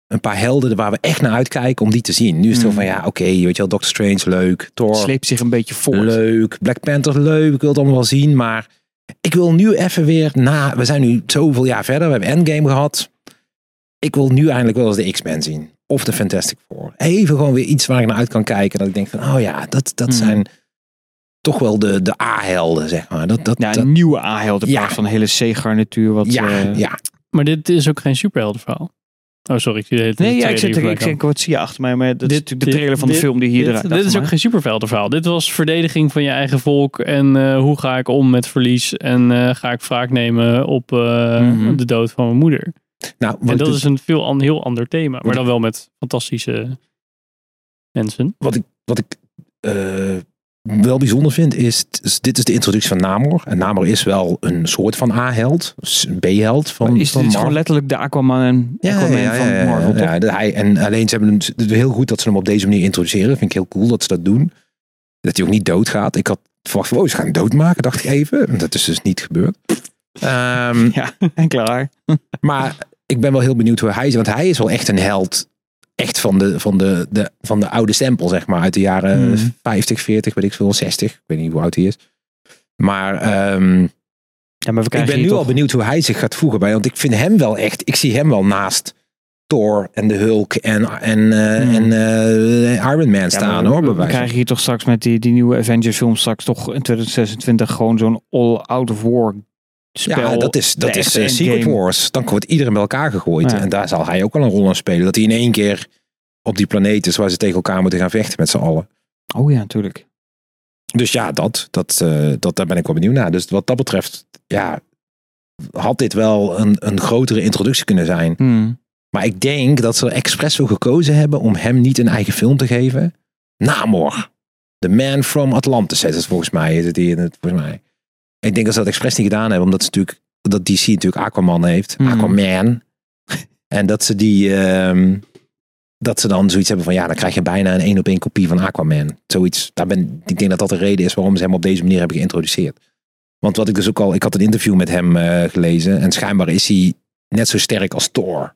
S3: een paar helden waar we echt naar uitkijken om die te zien. Nu is het
S1: Mm.
S3: wel van ja, oké, weet je wel, Doctor Strange leuk,
S1: Het
S3: Thor
S1: sleept zich een beetje voort.
S3: leuk, Black Panther leuk, ik wil het allemaal wel zien, maar ik wil nu even weer na. We zijn nu zoveel jaar verder, we hebben Endgame gehad. Ik wil nu eindelijk wel eens de X-Men zien of de Fantastic Four. Even gewoon weer iets waar ik naar uit kan kijken dat ik denk van, oh ja, dat, dat
S1: Mhm.
S3: zijn toch wel de, de A-helden zeg maar. Dat, dat,
S1: Ja,
S3: dat-
S1: een nieuwe A-held in
S3: Ja.
S1: plaats van een hele C-garnituur. Wat,
S3: ja,
S1: eh,
S3: ja.
S4: Maar dit is ook geen superheldenverhaal. Oh, sorry. Ik zie de hele
S1: Nee, ja,
S4: tweede
S1: ik zit
S4: hier
S1: er, ik
S4: voorbij
S1: denk, wat zie je achter mij? Maar dat
S4: Dit-
S1: is natuurlijk
S4: dit-
S1: de trailer van de
S4: dit-
S1: film die hier
S4: komen.
S1: eruit
S4: dit, dit is ook geen superheldenverhaal. Dit was verdediging van je eigen volk. En eh, hoe ga ik om met verlies? En eh, ga ik wraak nemen op eh,
S1: Mhm.
S4: de dood van mijn moeder?
S3: Nou,
S4: en
S3: wat,
S4: dat
S3: ik,
S4: is een veel an- heel ander thema. Maar dan wel met fantastische mensen.
S3: wat ik eh, wel bijzonder vind is, t- is, dit is de introductie van Namor. En Namor is wel een soort van A-held, s- B-held
S1: Is
S3: van, van
S1: dit
S3: Marvel.
S1: gewoon letterlijk de Aquaman, en Aquaman van
S3: ja, ja.
S1: Marvel, toch?
S3: Ja, dat hij, en alleen ze hebben hem, heel goed dat ze hem op deze manier introduceren. Vind ik heel cool dat ze dat doen. Dat hij ook niet doodgaat. Ik had verwacht, van, oh, ze gaan hem doodmaken, dacht ik even. Dat is dus niet gebeurd. Ehm,
S1: En klaar.
S3: maar ik ben wel heel benieuwd hoe hij is. Want hij is wel echt een held. Echt van de, van de, de, van de oude stempel, zeg maar. Uit de jaren
S1: Mhm.
S3: 50, 40, weet ik veel, 60. Ik weet niet hoe oud hij is. Maar ehm,
S1: Ja, maar we
S3: ik
S1: krijgen
S3: ben nu
S1: hier
S3: al
S1: toch-
S3: benieuwd hoe hij zich gaat voegen bij. Want ik vind hem wel echt. Ik zie hem wel naast Thor en de Hulk en, en, eh,
S1: Hmm.
S3: en eh, Iron Man
S1: Ja,
S3: staan
S1: maar
S3: hoor. Bij
S1: We
S3: wijze van-
S1: krijgen hier toch straks met die, die nieuwe Avengers film straks toch in 2026 gewoon zo'n all-out war spel.
S3: ja, dat is, dat
S1: de
S3: is
S1: echte
S3: eh, Secret
S1: Endgame.
S3: Wars. Dan wordt iedereen bij elkaar gegooid.
S1: Ja.
S3: En daar zal hij ook wel een rol aan spelen. Dat hij in één keer op die planeet is waar ze tegen elkaar moeten gaan vechten met z'n allen.
S1: Oh ja, natuurlijk.
S3: Dus ja, dat, dat, eh, dat, daar ben ik wel benieuwd naar. Dus wat dat betreft, ja, had dit wel een, een grotere introductie kunnen zijn.
S1: Hmm.
S3: Maar ik denk dat ze er expres voor gekozen hebben om hem niet een eigen film te geven. Namor. The Man from Atlantis heet het volgens mij. Is het hier, het- volgens mij. Ik denk dat ze dat expres niet gedaan hebben, omdat ze natuurlijk dat DC natuurlijk Aquaman heeft.
S1: Hmm.
S3: Aquaman. En dat ze die ehm, dat ze dan zoiets hebben van ja, dan krijg je bijna een één op één kopie van Aquaman. Zoiets. Daar ben, ik denk dat dat de reden is waarom ze hem op deze manier hebben geïntroduceerd. Want wat ik dus ook al, ik had een interview met hem eh, gelezen en schijnbaar is hij net zo sterk als Thor.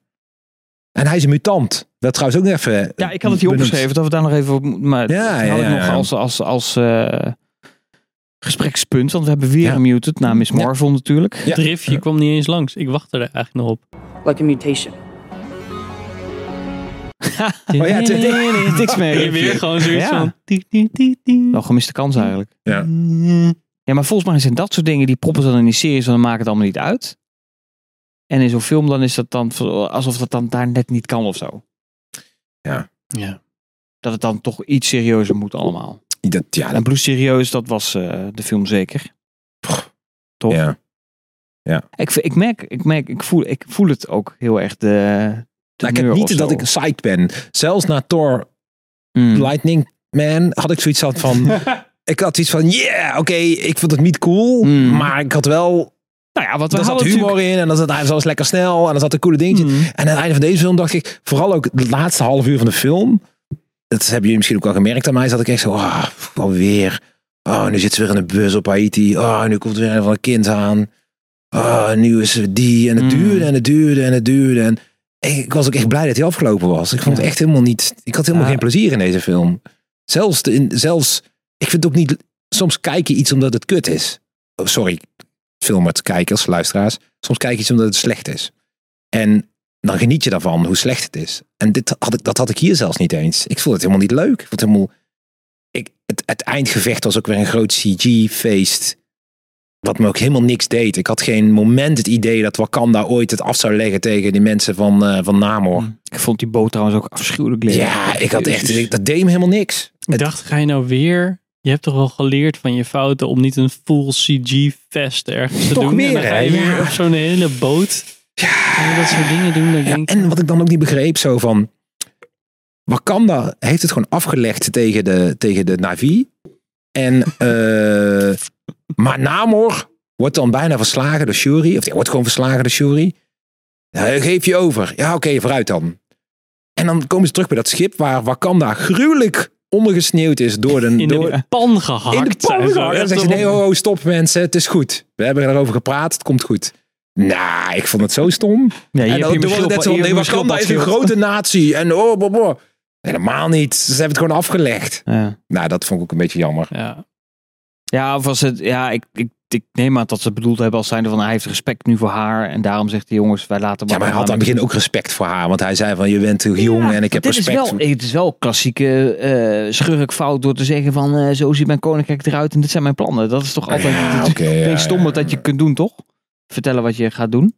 S3: En hij is een mutant. Dat trouwens ook nog even. eh,
S1: Ja, ik had het hier
S3: benoemd.
S1: opgeschreven dat we daar nog even op moeten. Maar
S3: Ja,
S1: dat
S3: ja,
S1: had ik
S3: ja,
S1: nog
S3: ja.
S1: als, als, als eh, gesprekspunt. Want we hebben weer
S3: Ja.
S1: een muted na Miss
S3: Ja.
S1: Marvel natuurlijk.
S3: Ja.
S4: Driftje kwam niet eens langs. Ik wachtte er eigenlijk nog op.
S7: like a mutation.
S3: Oh ja, het-
S1: Niks meer.
S4: Weer gewoon zoiets
S1: Ja.
S4: van... die, die, die, die.
S1: Nog gemiste kans eigenlijk.
S3: Ja.
S1: Ja, maar volgens mij zijn dat soort dingen die proppen ze dan in die series, want dan maakt het allemaal niet uit. En in zo'n film dan is dat dan v- alsof dat dan daar net niet kan of zo.
S4: Ja.
S1: Dat het dan toch iets serieuzer moet allemaal.
S3: Dat, ja,
S1: En
S3: dat,
S1: Blue Serieus, dat was eh, de film zeker. Toch?
S3: ja.
S1: Ik, v- ik merk, ik merk, ik voel, ik voel het ook heel erg de. de
S3: Nou, ik heb
S1: neur of
S3: niet dat
S1: zo.
S3: ik psyched ben. Zelfs na Thor
S1: Mm.
S3: Lightning Man had ik zoiets had van. ik had iets van, yeah, oké, ik vond het niet cool.
S1: Mm.
S3: Maar ik had wel.
S1: Nou ja, wat we
S3: Er zat
S1: hadden
S3: humor
S1: natuurlijk- Mm.
S3: in en dan zat hij was lekker snel en dan zat een coole dingetje. En aan het einde van deze film dacht ik, vooral ook het laatste half uur van de film. Dat hebben jullie misschien ook al gemerkt aan mij. Zat ik echt zo, ah, alweer. Oh, nu zit ze weer in een bus op Haiti. Oh, nu komt er weer een van een kind aan. Oh, nu is er die. En het
S1: Mm.
S3: duurde en het duurde en het duurde. En ik, ik was ook echt blij dat hij afgelopen was. Ik vond het echt helemaal niet. Ik had helemaal
S1: Ja.
S3: geen plezier in deze film. Zelfs, de, in- zelfs. Ik vind het ook niet. Soms kijk je iets omdat het kut is. Oh, sorry, filmers, kijkers, luisteraars. Soms kijk je iets omdat het slecht is. En dan geniet je daarvan hoe slecht het is. En dit had ik, dat had ik hier zelfs niet eens. Ik vond het helemaal niet leuk. Ik vond het helemaal. Ik, het, het eindgevecht was ook weer een groot CG-feest. Wat me ook helemaal niks deed. Ik had geen moment het idee dat Wakanda ooit het af zou leggen tegen die mensen van, eh, van Namor.
S1: Ik vond die boot trouwens ook afschuwelijk lelijk.
S3: Ja, ik had echt.
S1: Jezus.
S3: ik- dat deed me helemaal niks.
S4: Ik dacht, ga je nou weer... Je hebt toch wel geleerd van je fouten om niet een full CG-fest ergens te
S3: Toch
S4: doen. en dan
S3: weer,
S4: ga je
S3: hè?
S4: weer
S3: Ja.
S4: op zo'n hele boot. Ja. dat soort dingen doen. Dan
S3: Ja,
S4: denk ik,
S3: en wat ik dan ook niet begreep, zo van. Wakanda heeft het gewoon afgelegd tegen de, tegen de Navi. En, eh, maar Namor wordt dan bijna verslagen door Shuri. Of die wordt gewoon verslagen door Shuri. Hij geef je over. Ja, oké, vooruit dan. En dan komen ze terug bij dat schip waar Wakanda gruwelijk ondergesneeuwd is door de,
S4: in
S3: door,
S4: de pan gehakt.
S3: in de pan
S4: zijn ze.
S3: gehangen. Dan
S4: Echt
S3: zegt ze,
S4: op-
S3: nee, ho, ho, stop mensen, het is goed. We hebben erover gepraat, het komt goed. Nou, ik vond het zo stom.
S1: Ja, hier
S3: en
S1: heb
S3: dan
S1: je
S3: doen
S1: mijn
S3: we
S1: schildpad-
S3: net zo,
S1: hier
S3: nee,
S1: heb je mijn
S3: Wakanda is een
S1: schildpad
S3: grote natie. En oh, boh, boh. Helemaal niet. Ze hebben het gewoon afgelegd.
S1: Ja,
S3: Nou, dat vond ik ook een beetje jammer.
S4: Ja.
S1: ja of was het, ja, ik, ik, ik neem aan dat ze het bedoeld hebben als zijnde van hij heeft respect nu voor haar. En daarom zegt hij jongens, wij laten
S3: Ja, maar hij had aan het begin ook respect voor haar. Want hij zei van, je bent heel jong en ik heb
S1: dit
S3: respect
S1: Is
S3: voor...
S1: wel, het is wel klassieke eh, schurkfout door te zeggen van eh, zo ziet mijn koninkrijk eruit en dit zijn mijn plannen. Dat is toch altijd
S3: Ja,
S1: het
S3: oké, ja,
S1: meest stomme
S3: ja.
S1: dat je kunt doen, toch? Vertellen wat je gaat doen.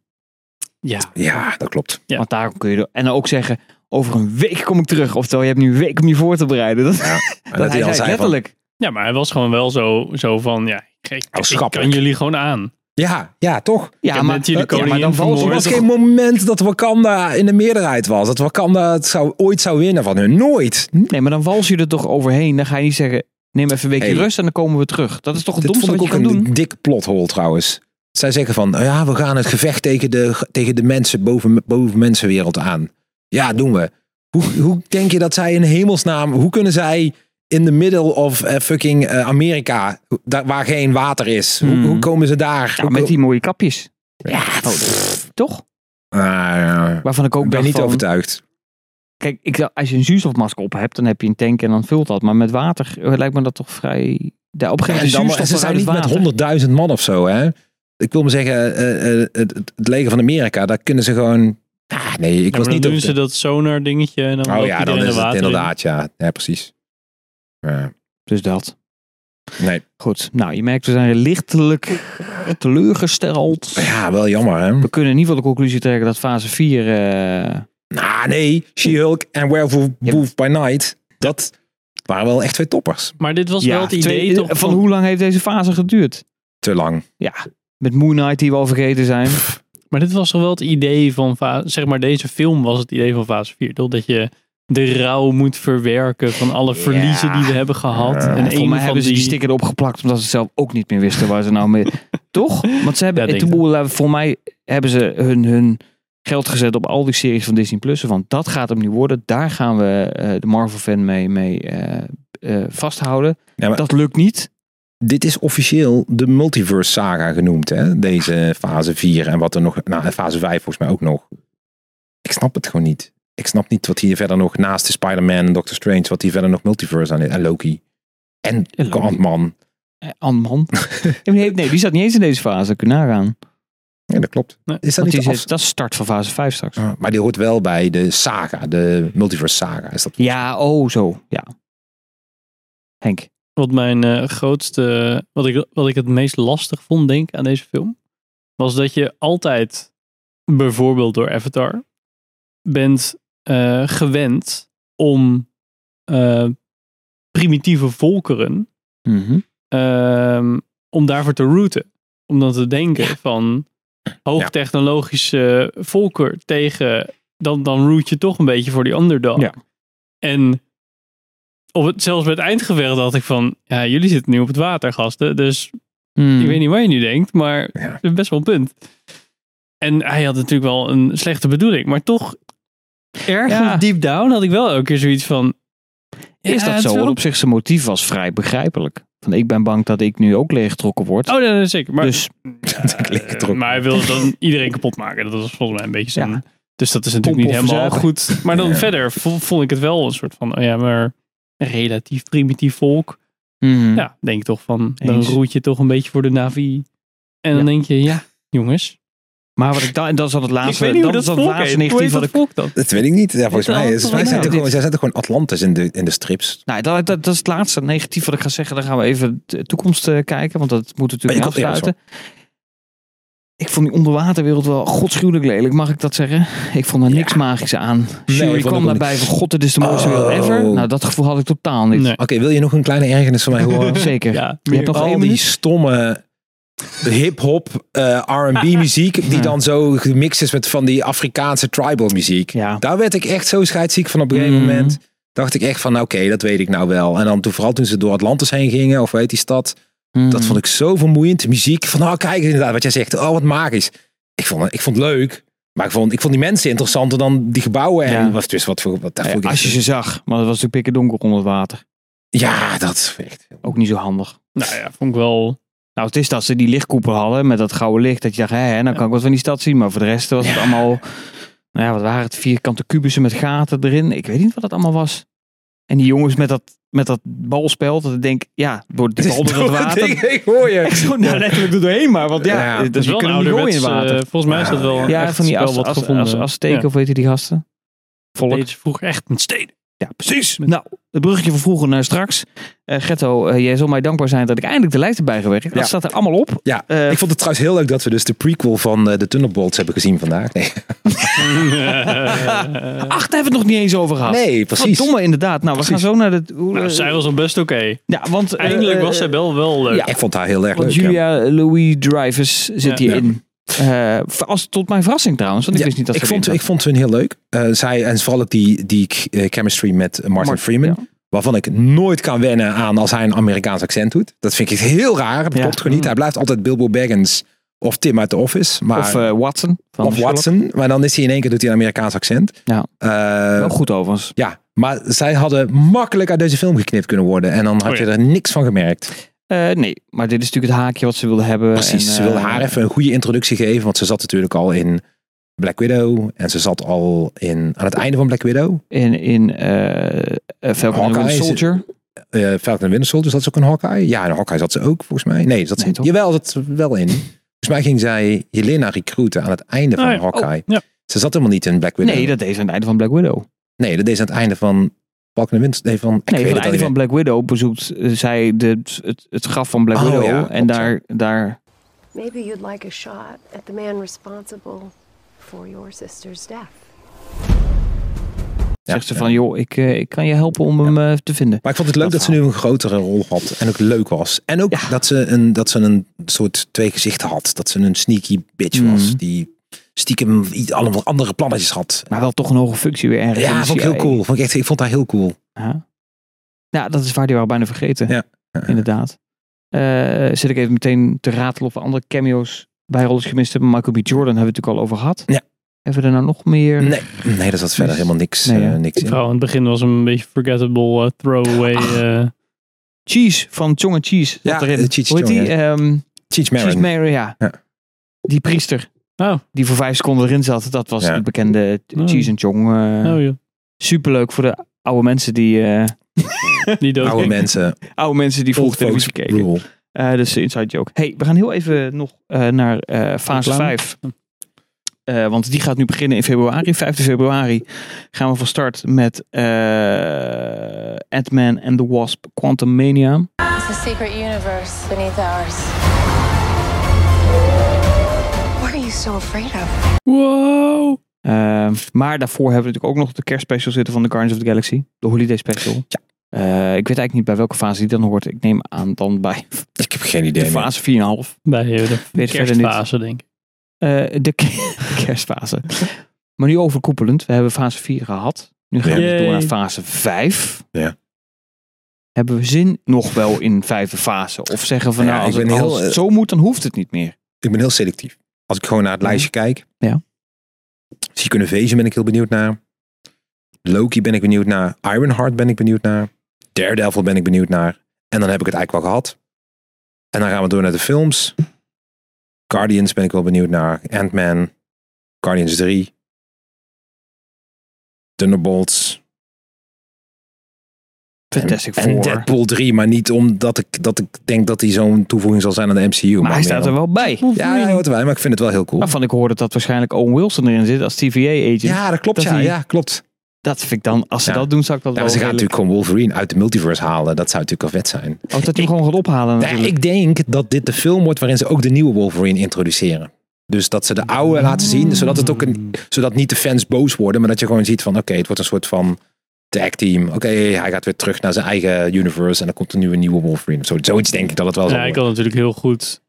S4: ja,
S3: Ja, dat klopt.
S4: Ja.
S1: Want daar kun je en dan ook zeggen, over een week kom ik terug. Oftewel, je hebt nu een week om je voor te bereiden. Dat,
S3: En
S1: dat, hij zei
S3: dan van,
S1: letterlijk.
S4: Ja, maar hij was gewoon wel zo, zo van, ja, ik, ik-
S3: Oh,
S4: ik
S3: schappelijk.
S4: kan jullie gewoon aan.
S3: ja, ja, toch?
S1: ja,
S4: heb
S1: maar,
S4: net hier de
S1: ja, maar
S4: koningin
S1: dan valt
S3: Er
S1: er
S3: was
S4: vermoord. toch-
S3: geen moment dat Wakanda in de meerderheid was. Dat Wakanda het zou, ooit zou winnen van hun. Nooit.
S1: Nee, maar dan wals je er toch overheen. Dan ga je niet zeggen, neem even een weekje
S3: Hey.
S1: rust en dan komen we terug. Dat is toch het
S3: Dit
S1: domste
S3: vond
S1: wat
S3: ik
S1: je
S3: ook
S1: kan
S3: een
S1: doen?
S3: dik plothole trouwens. Zij zeggen van, nou ja, we gaan het gevecht tegen de, tegen de mensen boven, boven mensenwereld aan. Ja, doen we. Hoe, hoe denk je dat zij in hemelsnaam, hoe kunnen zij in the middle of eh, fucking eh, Amerika, daar, waar geen water is, hoe,
S1: Mhm.
S3: hoe komen ze daar?
S1: Ja,
S3: Hoe
S1: Nou, met
S3: ko-
S1: die mooie kapjes. Oh,
S3: Ja,
S1: Toch?
S3: Ah, ja.
S1: Waarvan ik ook
S3: Ik ben
S1: dacht
S3: niet
S1: van,
S3: overtuigd.
S1: Kijk, ik, dacht, als je een zuurstofmasker op hebt, dan heb je een tank en dan vult dat. Maar met water eh, lijkt me dat toch vrij... Ja, op een
S3: En
S1: gegeven
S3: dan,
S1: moment zuurstof
S3: ze zijn
S1: eruit
S3: niet
S1: het water.
S3: met 100.000 man of zo, hè? Ik wil maar zeggen, eh, eh, het, het leger van Amerika, daar kunnen ze gewoon... Ah, nee, ik
S4: Ja,
S3: was
S4: maar
S3: niet
S4: dan
S3: op de-
S4: doen ze dat sonar dingetje en dan
S3: Oh
S4: loopt
S3: ja, dan
S4: iedereen
S3: is
S4: in
S3: het
S4: de water. in.
S3: inderdaad, ja. Ja, precies. Ja.
S1: Dus dat.
S3: Nee.
S1: Goed, nou je merkt we zijn lichtelijk teleurgesteld.
S3: ja, wel jammer, hè?
S1: We kunnen in ieder geval de conclusie trekken dat fase 4... eh,
S3: Nou, nee. She-Hulk en Werewolf Wolf by Night, dat waren wel echt twee toppers.
S4: Maar dit was wel het
S1: twee-
S4: idee toch
S1: van, hoe lang heeft deze fase geduurd?
S3: Te lang.
S1: Ja, met Moon Knight die we al vergeten zijn.
S4: Maar dit was toch wel het idee van, fa- zeg maar deze film was het idee van fase 4, toch? Dat je de rouw moet verwerken van alle
S1: Ja.
S4: verliezen die we hebben gehad. en
S1: En Nou, voor
S4: een
S1: mij
S4: van
S1: hebben ze
S4: die...
S1: die sticker erop geplakt, omdat ze zelf ook niet meer wisten waar ze nou mee... Toch? Want ze hebben,
S4: Ja, denk
S1: toen boel- eh, voor mij hebben ze hun, hun geld gezet op al die series van Disney+. Plus. Want dat gaat hem nu worden. Daar gaan we eh, de Marvel-fan mee, mee eh, eh, vasthouden.
S3: Ja, maar-
S1: Dat lukt niet.
S3: Dit is officieel de multiverse saga genoemd, hè? Deze fase 4 en wat er nog, nou, fase 5 volgens mij ook nog. Ik snap het gewoon niet. Ik snap niet wat hier verder nog naast de Spider-Man en Doctor Strange, wat hier verder nog multiverse aan is. En Loki. En
S1: En Loki.
S3: Ant-Man.
S1: Eh, Ant-Man. nee, nee, die zat niet eens in deze fase. Kun je nagaan.
S3: Ja, dat klopt.
S4: Nee,
S3: is dat
S1: Want
S3: niet
S1: die
S3: de
S1: is, dat is start van fase 5 straks.
S3: afs- Ah, Maar die hoort wel bij de saga, de multiverse saga. Is dat...
S1: Ja, oh zo. Ja. Henk.
S4: Wat mijn eh, grootste, wat ik, wat ik het meest lastig vond, denk ik, aan deze film, was dat je altijd, bijvoorbeeld door Avatar, bent eh, gewend om eh, primitieve volkeren
S1: Mhm.
S4: ehm, om daarvoor te routen. Om dan te denken van hoogtechnologische volker tegen, dan, dan root je toch een beetje voor die underdog.
S1: Ja.
S4: En op het, zelfs bij het eindgevecht dacht ik van, ja, jullie zitten nu op het water, gasten. Dus
S1: Hmm.
S4: ik weet niet waar je nu denkt, maar
S3: Ja.
S4: het is best wel een punt. En hij had natuurlijk wel een slechte bedoeling, maar toch ergens
S1: Ja.
S4: deep down had ik wel elke keer zoiets van...
S1: Is
S4: ja,
S1: dat
S4: het
S1: zo?
S4: wel-
S1: Want op zich zijn motief was vrij begrijpelijk. Van ik ben bang dat ik nu ook leeggetrokken word.
S4: Oh, nee, nee, zeker. Maar
S1: dus
S3: dat leek het
S4: Eh,
S3: erop.
S4: maar hij wilde dan iedereen kapot maken. Dat was volgens mij een beetje zijn...
S1: Ja.
S4: Dus dat is natuurlijk
S1: Pompen
S4: niet
S1: of
S4: helemaal goed. Maar dan
S3: Ja.
S4: verder vo- vond ik het wel een soort van... Oh ja, maar een relatief primitief volk.
S1: mhm.
S4: Ja, denk ik toch van... Dan
S1: Eens.
S4: roet je toch een beetje voor de Navi. En dan
S1: Ja.
S4: denk je, ja, jongens.
S1: Maar wat ik dan, en dat is al het
S4: ik
S1: laatste,
S4: weet niet hoe
S1: dat
S4: dat
S1: is al
S4: volk
S1: het
S4: heet.
S1: laatste
S4: Hoe
S1: negatief wat
S4: heet dat
S1: ik.
S4: volk dan?
S3: Dat weet ik niet. Ja, volgens
S4: Dit
S3: mij,
S4: had
S3: is, wij
S4: toch
S3: zijn
S4: wel
S3: toch
S1: dit-
S3: gewoon, zij zijn toch gewoon Atlantis in de, in de strips.
S1: Nou, dat, dat, dat is het laatste negatief wat ik ga zeggen. Dan gaan we even de toekomst eh, kijken, want dat moet natuurlijk
S3: Maar je kan- ja,
S1: afsluiten. Ik vond die onderwaterwereld wel godschuwelijk lelijk, mag ik dat zeggen? Ik vond er niks magisch aan. Shuri
S3: ik vond
S1: kwam
S3: ook
S1: daarbij
S3: niks.
S1: van god, dit is de mooiste
S3: Oh.
S1: wereld ever. Nou, dat gevoel had ik totaal niet.
S4: Nee.
S3: Oké, wil je nog een kleine ergernis van mij horen?
S1: Zeker.
S4: Ja,
S1: Je hebt nog
S3: al
S1: één
S3: die
S1: minuut.
S3: stomme hip-hop, eh, RB muziek, die
S1: Ja.
S3: dan zo gemixt is met van die Afrikaanse tribal muziek.
S1: Ja.
S3: Daar werd ik echt zo scheidsziek van op een gegeven
S1: Mhm.
S3: moment. Dacht ik echt van, nou, oké, dat weet ik nou wel. En dan toen, vooral toen ze door Atlantis heen gingen, of weet die stad,
S1: Mhm. Mm.
S3: dat vond ik zo vermoeiend. De muziek van, nou, kijk inderdaad wat jij zegt. Oh, wat magisch. Ik vond, het- ik vond het leuk. Maar ik vond, ik vond die mensen interessanter dan die gebouwen. En
S1: Ja.
S3: was dus wat voor. Wat, daar
S1: Nou Ja,
S3: vond ik
S1: als je
S3: echt-
S1: ze zag, maar dat was natuurlijk pikken donker onder het water.
S3: ja, dat is echt.
S1: Ook niet zo handig.
S4: Nou ja, vond ik wel...
S1: Nou, het is dat ze die lichtkoepel hadden met dat gouden licht. Dat je dacht, hè, hè, nou kan ik wat van die stad zien. Maar voor de rest was het allemaal... Nou ja, wat waren het? Vierkante kubussen met gaten erin. Ik weet niet wat dat allemaal was. En die jongens met dat, met dat balspel. Dat ik denk, ja, door de bal door het water.
S3: Ik hoor je.
S1: Echt zo nou, letterlijk er doorheen maar. Want ja,
S3: Ja,
S1: dat
S3: het
S4: Dat is wel een
S1: kunnen hem niet gooien
S4: ouderwets...
S1: in
S4: eh,
S1: water.
S4: volgens mij is dat wel een
S1: ja,
S4: echt
S1: van die
S4: spel
S1: as,
S4: wat
S1: as, as,
S4: gevonden.
S1: Azteken,
S4: Ja.
S1: of weet je die gasten? Volk.
S4: Deed ze vroeger echt met steden.
S1: Ja, precies. Nou, het bruggetje van vroeger naar straks. Eh Getto, eh, jij zal mij dankbaar zijn dat ik eindelijk de lijst erbij gewerkt heb. Dat
S3: Ja.
S1: staat er allemaal op.
S3: Ja,
S1: Eh,
S3: ik vond het trouwens heel leuk dat we dus de prequel van eh, de Thunderbolts hebben gezien vandaag. Nee,
S1: Acht hebben we het nog niet eens over gehad.
S3: nee precies.
S1: Ah, Verdomme, inderdaad. Nou, we gaan zo naar de... hoe-
S4: nou,
S1: eh,
S4: zij was al best oké.
S1: ja, want, eh,
S4: Eindelijk
S1: eh,
S4: was zij wel wel leuk.
S1: ja.
S3: Ik vond haar heel erg leuk.
S1: Want
S3: ja.
S1: Julia Louis Drivers zit
S4: Ja.
S1: hierin. Eh, als, tot mijn verrassing trouwens, want ik
S3: Ja,
S1: wist niet dat
S3: ik,
S1: ze
S3: vond,
S1: erin
S3: ik vond hun heel leuk. Eh, zij, en vooral ook die, die eh, chemistry met Martin,
S1: zat. Maar-
S3: Freeman.
S1: ja.
S3: Waarvan ik nooit kan wennen aan als hij een Amerikaans accent doet. Dat vind ik heel raar. Dat
S1: Ja. Mm.
S3: klopt gewoon niet. Hij blijft altijd Bilbo Baggins of Tim uit The Office. Maar,
S1: Of eh, Watson. van
S3: of
S1: Sherlock.
S3: Watson. Maar dan is hij in één keer doet hij een Amerikaans accent.
S1: Ja.
S3: Eh,
S1: Wel goed overigens.
S3: ja, maar zij hadden makkelijk uit deze film geknipt kunnen worden. En dan had
S4: Oh ja.
S3: je er niks van gemerkt.
S1: Eh, nee, maar dit is natuurlijk het haakje wat ze wilden hebben.
S3: Precies,
S1: En,
S3: ze wilde
S1: eh,
S3: haar even een goede introductie geven, want ze zat natuurlijk al in Black Widow en ze zat al in, aan het einde van Black Widow,
S1: In, in eh, eh, Falcon and the Winter
S3: Hawkeye is-
S1: Soldier.
S3: Eh Falcon and Winter Soldier, zat ze ook in Hawkeye? Ja, in Hawkeye zat ze ook volgens mij. Nee, zat ze,
S1: Nee, toch?
S3: jawel, zat ze wel in. Volgens mij ging zij Jelena recruiten aan het einde van
S4: Oh ja.
S3: Hawkeye.
S4: ja.
S3: Ze zat helemaal niet in Black Widow.
S1: Nee, dat deed ze aan het einde van Black Widow.
S3: nee, dat deed ze aan het einde van Falcon and Winter, nee, van, ik
S1: Nee,
S3: weet
S1: van
S3: het
S1: het einde
S3: alweer.
S1: van Black Widow bezoekt eh, zij de, het, het graf van Black
S3: Oh,
S1: Widow.
S3: ja,
S1: en
S3: klopt,
S1: daar, daar...
S7: Maybe you'd like a shot at the man responsible for your sister's death.
S3: Ja,
S1: zegt ze
S3: ja.
S1: van, joh, ik, eh, ik kan je helpen om hem eh, te vinden.
S3: Maar ik vond het leuk
S1: Dat
S3: dat, ze nu een grotere rol had en ook leuk was. En ook
S1: Ja.
S3: dat, ze een, dat ze een soort twee gezichten had. Dat ze een sneaky bitch was.
S1: Mhm.
S3: Die stiekem iets- allemaal andere plannetjes had.
S1: Maar wel toch een hoge functie weer ergens. in
S3: Ja,
S1: de
S3: vond ik heel
S1: CIA.
S3: cool. Vond ik, echt, ik vond dat heel cool.
S1: Ja. Ja, dat is waar die waren bijna vergeten.
S3: Ja.
S1: Inderdaad. Eh, zit ik even meteen te ratelen of we andere cameo's bijrollen gemist hebben. Michael B. Jordan hebben we het natuurlijk al over gehad.
S3: Ja.
S1: Hebben we er nou nog meer?
S3: Nee, nee daar zat verder helemaal niks,
S1: Nee, hè?
S3: eh, niks in.
S4: Vooral in het begin was een beetje forgettable eh, throwaway.
S3: Ah.
S4: eh,
S1: Cheese van Chong en Cheese. zat
S3: Ja,
S1: erin.
S3: eh, Cheech
S1: Hoe heet
S3: Chong,
S1: die? Ehm,
S3: Cheech
S1: Cheese
S3: Marin.
S1: Mary, ja.
S3: Ja.
S1: Die priester.
S4: Oh.
S1: Die voor vijf seconden erin zat. Dat was
S3: Ja.
S1: de bekende
S4: Oh.
S1: Cheese en Chong. eh
S4: oh joh,
S1: Superleuk voor de oude mensen die, eh,
S4: die dood.
S3: Oude mensen.
S1: oude mensen die vroeg
S3: Old folks
S1: televisie keken.
S3: rule.
S1: Eh, dus de inside joke. Hey, we gaan heel even nog eh, naar eh, fase
S4: Reclame.
S1: 5. Eh, want die gaat nu beginnen in februari. 5 februari gaan we van start met eh Ant-Man and the Wasp Quantum Mania.
S8: It's a secret universe beneath ours.
S7: What are you so afraid of?
S4: Wow.
S1: Ehm, maar daarvoor hebben we natuurlijk ook nog de kerstspecial zitten van de Guardians of the Galaxy. De holiday special. Eh, ik weet eigenlijk niet bij welke fase die dan hoort. Ik neem aan dan bij
S3: Ik heb geen
S1: de
S3: idee. man.
S1: fase 4,5.
S4: Bij eh, de
S1: Weet verder niet.
S4: kerstfase, denk ik.
S1: Eh, de ke- kerstfase. Maar nu overkoepelend. We hebben fase 4 gehad. Nu gaan we
S4: Ja.
S1: dus door naar
S4: Yay.
S1: fase 5.
S3: Ja.
S1: Hebben we zin nog wel in vijfde fase? Of zeggen van
S3: Ja,
S1: nou, als,
S3: ik
S1: het,
S3: ben heel,
S1: als het
S3: eh,
S1: zo moet, dan hoeft het niet meer.
S3: Ik ben heel selectief. Als ik gewoon naar het lijstje kijk.
S1: Mhm. Ja.
S3: Zie kunnen Vezen ben ik heel benieuwd naar. Loki ben ik benieuwd naar. Ironheart ben ik benieuwd naar. Daredevil ben ik benieuwd naar. En dan heb ik het eigenlijk wel gehad. En dan gaan we door naar de films. Guardians ben ik wel benieuwd naar. Ant-Man. Guardians 3. Thunderbolts.
S1: Fantastic
S3: en, en
S1: Four.
S3: Deadpool 3, maar niet omdat ik, dat ik denk dat die zo'n toevoeging zal zijn aan de MCU.
S1: maar hij
S3: meer
S1: staat
S3: om-
S1: er wel bij.
S3: Ja, hij hoort erbij, maar ik vind het wel heel cool.
S1: Waarvan ik hoorde dat waarschijnlijk Owen Wilson erin zit als TVA-agent.
S3: Ja, dat klopt.
S1: Dat
S3: ja,
S1: hij-
S3: ja, klopt.
S1: Dat vind ik dan, als ze
S3: Ja.
S1: dat doen, zou ik dat
S3: Ja, maar
S1: wel
S3: ze gaan
S1: redelijk-
S3: natuurlijk gewoon Wolverine uit de multiverse halen. Dat zou natuurlijk al vet zijn.
S1: Oh, dat hij hem gewoon gaat ophalen
S3: Nee,
S1: natuurlijk.
S3: ik denk dat dit de film wordt waarin ze ook de nieuwe Wolverine introduceren. Dus dat ze de
S4: Ah.
S3: oude laten zien, zodat, het ook
S4: Mm.
S3: een, zodat niet de fans boos worden. Maar dat je gewoon ziet van, oké, het wordt een soort van tag team. Oké, hij gaat weer terug naar zijn eigen universe. En dan komt er nu een nieuwe Wolverine. of Zo, zoiets denk ik dat het wel zal
S4: Ja, ik
S3: worden.
S4: kan natuurlijk heel goed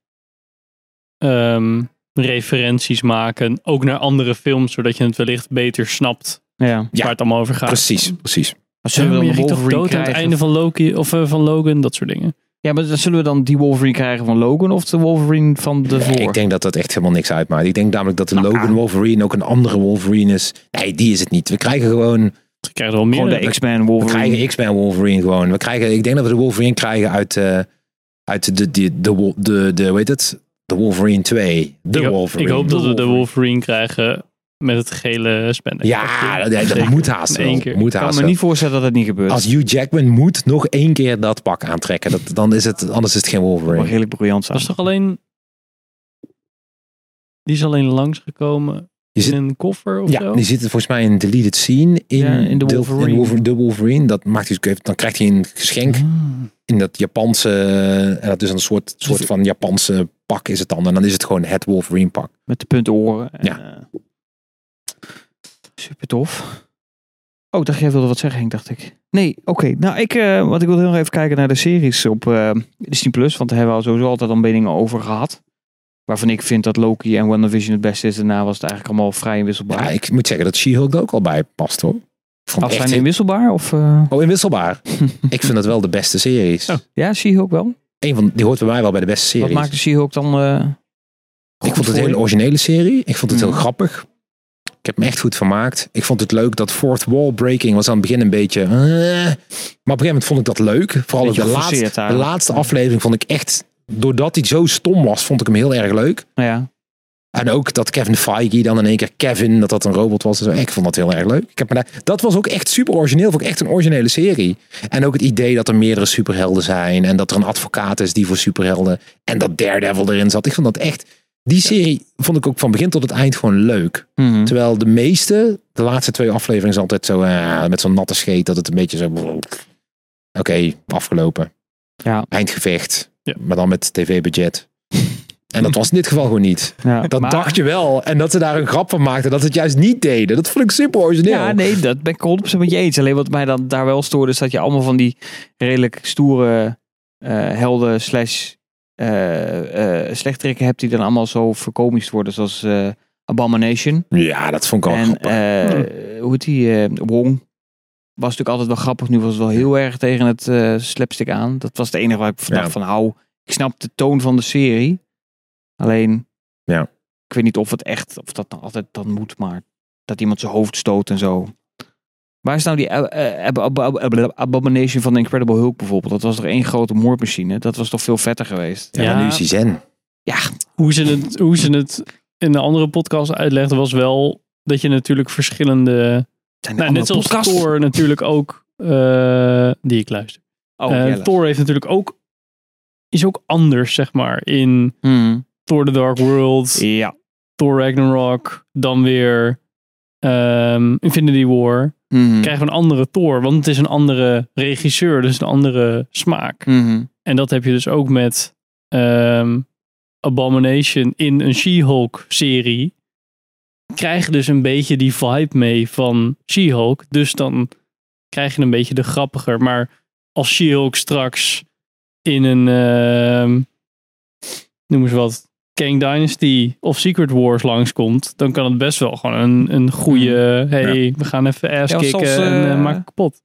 S4: ehm, referenties maken, ook naar andere films, zodat je het wellicht beter snapt
S1: Ja.
S3: Ja.
S4: waar het allemaal over gaat.
S3: Precies, precies.
S1: Als
S4: Zullen we
S1: dan
S4: je
S1: een
S4: ging toch
S1: Wolverine
S4: dood aan het
S1: krijgen
S4: einde van Loki of eh, van Logan, dat soort dingen.
S1: Ja, maar dan zullen we dan die Wolverine krijgen van Logan of de Wolverine van de voor?
S3: Ik denk dat dat echt helemaal niks uitmaakt. Ik denk namelijk dat de
S1: Nou,
S3: Logan
S1: ah.
S3: Wolverine ook een andere Wolverine is. Nee, die is het niet. We krijgen gewoon
S4: Je krijgt er wel meer.
S1: Gewoon de
S4: dan.
S1: X-Men
S3: We
S1: Wolverine.
S3: krijgen X-Men Wolverine gewoon. We krijgen, ik denk dat we de Wolverine krijgen uit, eh, uit de, de, de, Wol- de, de, hoe heet het? De Wolverine 2. De
S4: ik, ho-
S3: Wolverine.
S4: ik hoop
S3: De
S4: dat we de
S3: Wolverine.
S4: Wolverine krijgen met het gele spandex.
S3: Ja, dat, dat
S4: Zeker.
S3: moet haast
S4: In één
S3: wel.
S4: keer.
S3: Moet
S1: Ik kan
S3: haast
S1: me
S3: wel.
S1: niet voorstellen dat het niet gebeurt.
S3: Als Hugh Jackman moet nog één keer dat pak aantrekken. Dat, dan is het, anders is het geen
S1: maar
S3: Wolverine.
S1: redelijk briljant
S4: Dat
S1: zijn.
S4: is toch alleen... Die is alleen langsgekomen
S3: Je
S4: in
S3: zit-
S4: een koffer of
S3: Ja,
S4: zo?
S3: die zit volgens mij in deleted scene in,
S1: Ja, in de
S3: deel-
S1: Wolverine.
S3: Wolver- de Wolverine. Dat maakt hij, dus even- dan krijgt hij een geschenk
S1: Hmm.
S3: in dat Japanse, en dat is een soort,
S1: Dus-
S3: soort van Japanse pak is het dan. En dan is het gewoon het Wolverine pak.
S1: Met de punten oren. En,
S3: Ja.
S1: eh, super tof. Oh, ik dacht jij wilde wat zeggen, Henk, dacht ik. Nee, oké. Nou, ik, eh, want ik wilde heel nog even kijken naar de series op eh Disney+. Plus, Want daar hebben we al sowieso altijd al meningen over gehad. Waarvan ik vind dat Loki en WandaVision het beste is. Daarna was het eigenlijk allemaal vrij inwisselbaar.
S3: Ja, ik moet zeggen dat She-Hulk er ook al bij past hoor. Ik vond het
S1: Afzijn
S3: echt-
S1: inwisselbaar? Of, eh,
S3: Oh, inwisselbaar. ik vind dat wel de beste series.
S4: Oh.
S1: ja, She-Hulk wel.
S3: Eén van, die hoort bij mij wel bij de beste series.
S1: Wat maakte She-Hulk dan eh,
S3: ik
S1: goed
S3: vond het een
S1: voor je?
S3: hele originele serie. Ik vond het
S1: Mm.
S3: heel grappig. Ik heb me echt goed vermaakt. Ik vond het leuk dat Fourth Wall Breaking was aan het begin een beetje... eh, maar op een gegeven moment vond ik dat leuk. Vooral ook
S1: Beetje
S3: de laatste,
S1: geforceerd
S3: de
S1: eigenlijk.
S3: laatste aflevering vond ik echt... Doordat hij zo stom was, vond ik hem heel erg leuk.
S1: Nou Ja.
S3: En ook dat Kevin Feige dan in één keer Kevin, dat dat een robot was. En zo. Ik vond dat heel erg leuk. Ik heb me daar, dat was ook echt super origineel. Vond ik echt een originele serie. En ook het idee dat er meerdere superhelden zijn. En dat er een advocaat is die voor superhelden. En dat Daredevil erin zat. Ik vond dat echt... Die serie vond ik ook van begin tot het eind gewoon leuk.
S1: Mhm.
S3: Terwijl de meeste, de laatste twee afleveringen is altijd zo eh, met zo'n natte scheet. Dat het een beetje zo... Oké, afgelopen.
S1: Ja.
S3: Eindgevecht.
S4: Ja.
S3: Maar dan met tv-budget. En dat was in dit geval gewoon niet.
S1: Ja,
S3: Dat
S1: maar-
S3: dacht je wel. En dat ze daar een grap van maakten. Dat ze het juist niet deden. Dat vond ik super origineel.
S1: Ja, nee, dat ben ik 100% met je eens. Alleen wat mij dan daar wel stoorde, is dat je allemaal van die redelijk stoere eh, helden slash eh eh, slechterikken hebt die dan allemaal zo verkomisch worden. Zoals eh Abomination.
S3: Ja, dat vond ik al
S1: en
S3: grappig.
S1: eh, hoe heet die? eh, Wong. Was natuurlijk altijd wel grappig. Nu was het wel heel erg tegen het eh, slapstick aan. Dat was het enige waar ik van
S3: Ja.
S1: dacht van hou. Ik snap de toon van de serie. Alleen,
S3: Ja.
S1: ik weet niet of het echt, of dat nou altijd dan moet, maar dat iemand zijn hoofd stoot en zo. Waar is nou die eh, eh, ab- ab- ab- ab- Abomination van de Incredible Hulk bijvoorbeeld? Dat was toch één grote moordmachine? Dat was toch veel vetter geweest?
S3: ja,
S4: ja.
S3: maar nu is hij zen.
S4: hoe ze het, hoe ze het in de andere podcast uitlegden was wel dat je natuurlijk verschillende.
S1: Zijn er
S4: Nou, net
S1: andere
S4: zoals
S1: podcasts?
S4: Thor natuurlijk ook, eh, die ik luister.
S1: Oh,
S4: Eh,
S1: Jelle.
S4: Thor heeft natuurlijk ook, is ook anders zeg maar in
S1: Hmm.
S4: Thor The Dark World,
S1: Ja.
S4: Thor Ragnarok, dan weer ehm, Infinity War.
S1: Mhm.
S4: Krijgen we een andere Thor, want het is een andere regisseur, dus een andere smaak.
S1: Mhm.
S4: En dat heb je dus ook met ehm, Abomination in een She-Hulk serie. Krijg je dus een beetje die vibe mee van She-Hulk. Dus dan krijg je een beetje de grappiger. Maar als She-Hulk straks in een, ehm, noem eens wat, Kang Dynasty of Secret Wars langskomt. Dan kan het best wel gewoon een, een goede, hey, we gaan even ass
S1: Hmm. Ja, of
S4: kicken
S1: zelfs,
S4: en
S1: eh,
S4: eh, maak kapot.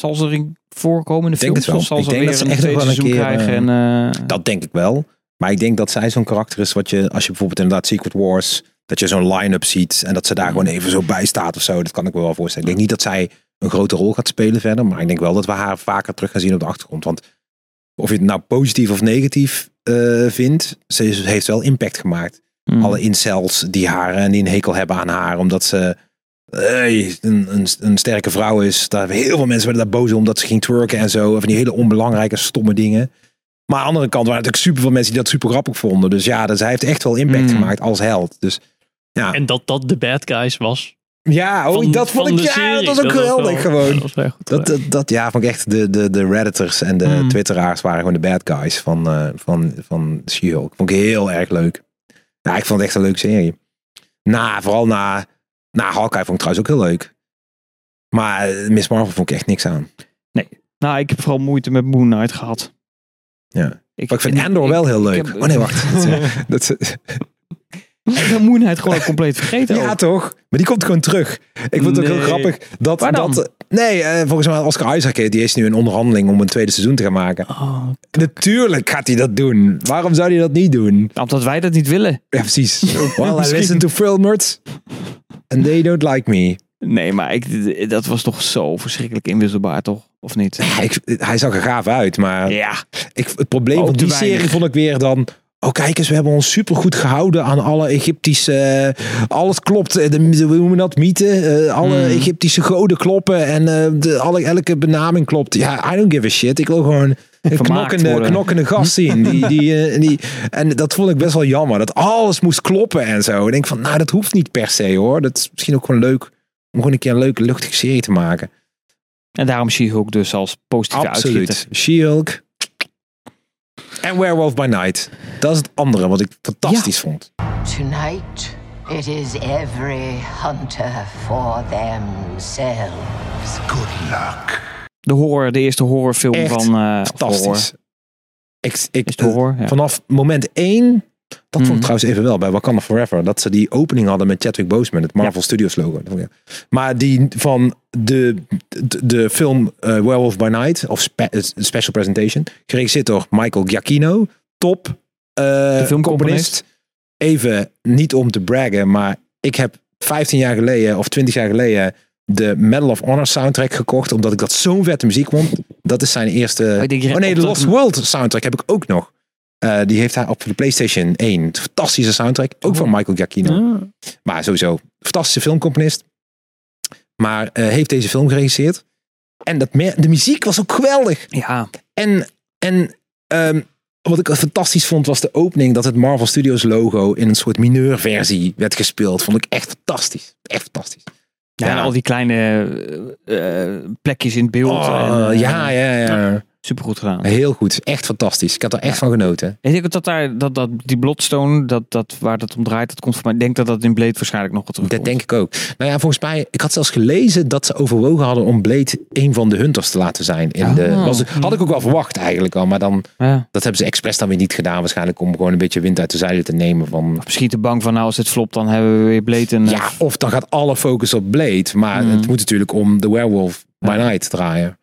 S1: Zal ze erin voorkomen in de
S3: Ik denk
S1: films?
S3: het wel.
S1: Of zal ze
S3: Ik denk
S1: weer
S3: dat ze
S1: een
S3: echt nog
S1: tweede
S3: wel een
S1: seizoen
S3: keer,
S1: krijgen? En, eh,
S3: Dat denk ik wel. Maar ik denk dat zij zo'n karakter is wat je, als je bijvoorbeeld inderdaad Secret Wars, dat je zo'n line-up ziet en dat ze daar gewoon even zo bij staat of zo. Dat kan ik me wel voorstellen. Ik denk niet dat zij een grote rol gaat spelen verder, maar ik denk wel dat we haar vaker terug gaan zien op de achtergrond. Want of je het nou positief of negatief eh, vindt, ze is- heeft wel impact gemaakt.
S1: mm.
S3: alle incels die haar en die een hekel hebben aan haar, omdat ze hey, een, een, een sterke vrouw is. Daar heel veel mensen werden daar boos om omdat ze ging twerken en zo. En Van die hele onbelangrijke, stomme dingen. Maar aan de andere kant waren natuurlijk super veel mensen die dat super grappig vonden. Dus ja, dus hij heeft echt wel impact
S1: Mm.
S3: gemaakt als held. Dus ja,
S4: En dat dat de bad guys was.
S3: ja oh,
S4: van-
S3: dat vond
S4: van
S3: ik
S4: de
S3: ja, dat
S4: serie.
S3: was ook geweldig
S4: wel-
S3: gewoon.
S4: Dat was wel goed
S3: Dat,
S4: gedaan.
S3: dat, dat- ja, vond ik echt de, de, de Redditors en de
S1: Hmm.
S4: Mm.
S3: Twitteraars waren gewoon de bad guys van, eh van, van She-Hulk. Vond ik heel erg leuk. Ja, ik vond het echt een leuke serie. Na, vooral na, na Hawkeye vond ik trouwens ook heel leuk. Maar eh, Miss Marvel vond ik echt niks aan.
S1: Nou, ik heb vooral moeite met Moon Knight gehad.
S3: Ja. Maar ik vind Andor
S1: ik-
S3: wel heel
S1: ik
S3: leuk.
S1: heb-
S3: oh nee, wacht. Dat- dat,
S1: Ik heb Moon Knight gewoon compleet vergeten.
S3: Ja,
S1: ook.
S3: toch? Maar die komt gewoon terug. Ik vond het ook heel
S1: Nee.
S3: grappig dat...
S1: Waar dan?
S3: dat nee, eh, volgens mij Oscar Isaac die is nu in onderhandeling om een tweede seizoen te gaan maken.
S1: Oh,
S3: Natuurlijk gaat hij dat doen. Waarom zou hij dat niet doen?
S1: Omdat wij dat niet willen.
S3: Ja, precies. Well, I listen to Phil Mertz and they don't like me.
S1: Nee, maar ik, dat was toch zo verschrikkelijk inwisselbaar, toch? Of niet?
S3: Ja, ik, hij zag er gaaf uit, maar
S1: Ja.
S3: ik, het probleem
S1: Ook
S3: van
S1: te
S3: die
S1: weinig.
S3: serie vond ik weer dan... Oh, kijk eens, we hebben ons supergoed gehouden aan alle Egyptische... eh, alles klopt, eh, de, de- hoe noem je dat, mythe? eh, alle
S1: Mm.
S3: Egyptische goden kloppen en eh, de, alle, elke benaming klopt. Ja, I don't give a shit. Ik wil gewoon een
S1: Vermaakt
S3: knokkende,
S1: worden. Hmm?
S3: knokkende gast zien. Die, die, eh, die, en dat vond ik best wel jammer, dat alles moest kloppen en zo. Ik denk van, nou, dat hoeft niet per se, hoor. Dat is misschien ook gewoon leuk om gewoon een keer een leuke, luchtige serie te maken.
S1: En daarom She-Hulk dus als positieve
S3: Absoluut.
S1: uitschieter.
S3: She-Hulk. En Werewolf by Night. Dat is het andere wat ik fantastisch vond.
S5: Tonight, it is every hunter for themselves. Good luck.
S1: De horror, de eerste horrorfilm
S3: Echt
S1: van... eh, of horror.
S3: Fantastisch. Ik, ik, eh,
S1: Is het horror? Ja.
S3: Vanaf moment één. Dat vond
S1: Mhm.
S3: ik trouwens even wel bij Wakanda Forever. Dat ze die opening hadden met Chadwick Boseman. Het Marvel Studios logo. Dat vond ik- Maar die van de, de, de film eh, Werewolf by Night. Of spe- eh, Special Presentation. Geregisseerd door Michael Giacchino. Top. eh,
S1: filmcomponist.
S3: Even, niet om te braggen. Maar ik heb 15 jaar geleden of 20 jaar geleden de Medal of Honor soundtrack gekocht. Omdat ik dat zo'n vette muziek vond. Dat is zijn eerste...
S1: Oh, ik denk, je-
S3: oh nee,
S1: op
S3: de
S1: dat-
S3: Lost World soundtrack heb ik ook nog. Eh, die heeft hij op de PlayStation 1. Fantastische soundtrack. Ook van
S1: Mhm.
S3: Michael Giacchino. Maar sowieso, fantastische filmcomponist. Maar eh, heeft deze film geregisseerd. En dat mer- de muziek was ook geweldig.
S1: Ja.
S3: En, en ehm, wat ik fantastisch vond was de opening dat het Marvel Studios logo in een soort mineurversie werd gespeeld. Vond ik echt fantastisch. Echt fantastisch.
S1: Ja, en al die kleine eh, eh, plekjes in het beeld.
S3: Oh,
S1: en, eh,
S3: ja, ja, ja.
S1: Supergoed gedaan.
S3: Heel goed. Echt fantastisch. Ik had er echt van genoten.
S1: Ik denk ook dat daar, dat, dat, die Bloodstone, dat, dat, waar dat om draait, dat komt voor mij. Ik denk dat dat in Blade waarschijnlijk nog wat terugkomt.
S3: Dat denk ik ook. Nou ja, volgens mij, ik had zelfs gelezen dat ze overwogen hadden om Blade een van de hunters te laten zijn. In de,
S1: Ah.
S3: was, had ik ook wel verwacht eigenlijk al, maar dan,
S1: Ja.
S3: dat hebben ze expres dan weer niet gedaan. Waarschijnlijk om gewoon een beetje wind uit de zeilen te nemen van
S1: Of misschien te bang van, nou als het flopt, dan hebben we weer Blade en... eh,
S3: Ja, of dan gaat alle focus op Blade. Maar
S1: Mhm.
S3: het moet natuurlijk om The Werewolf by Night draaien.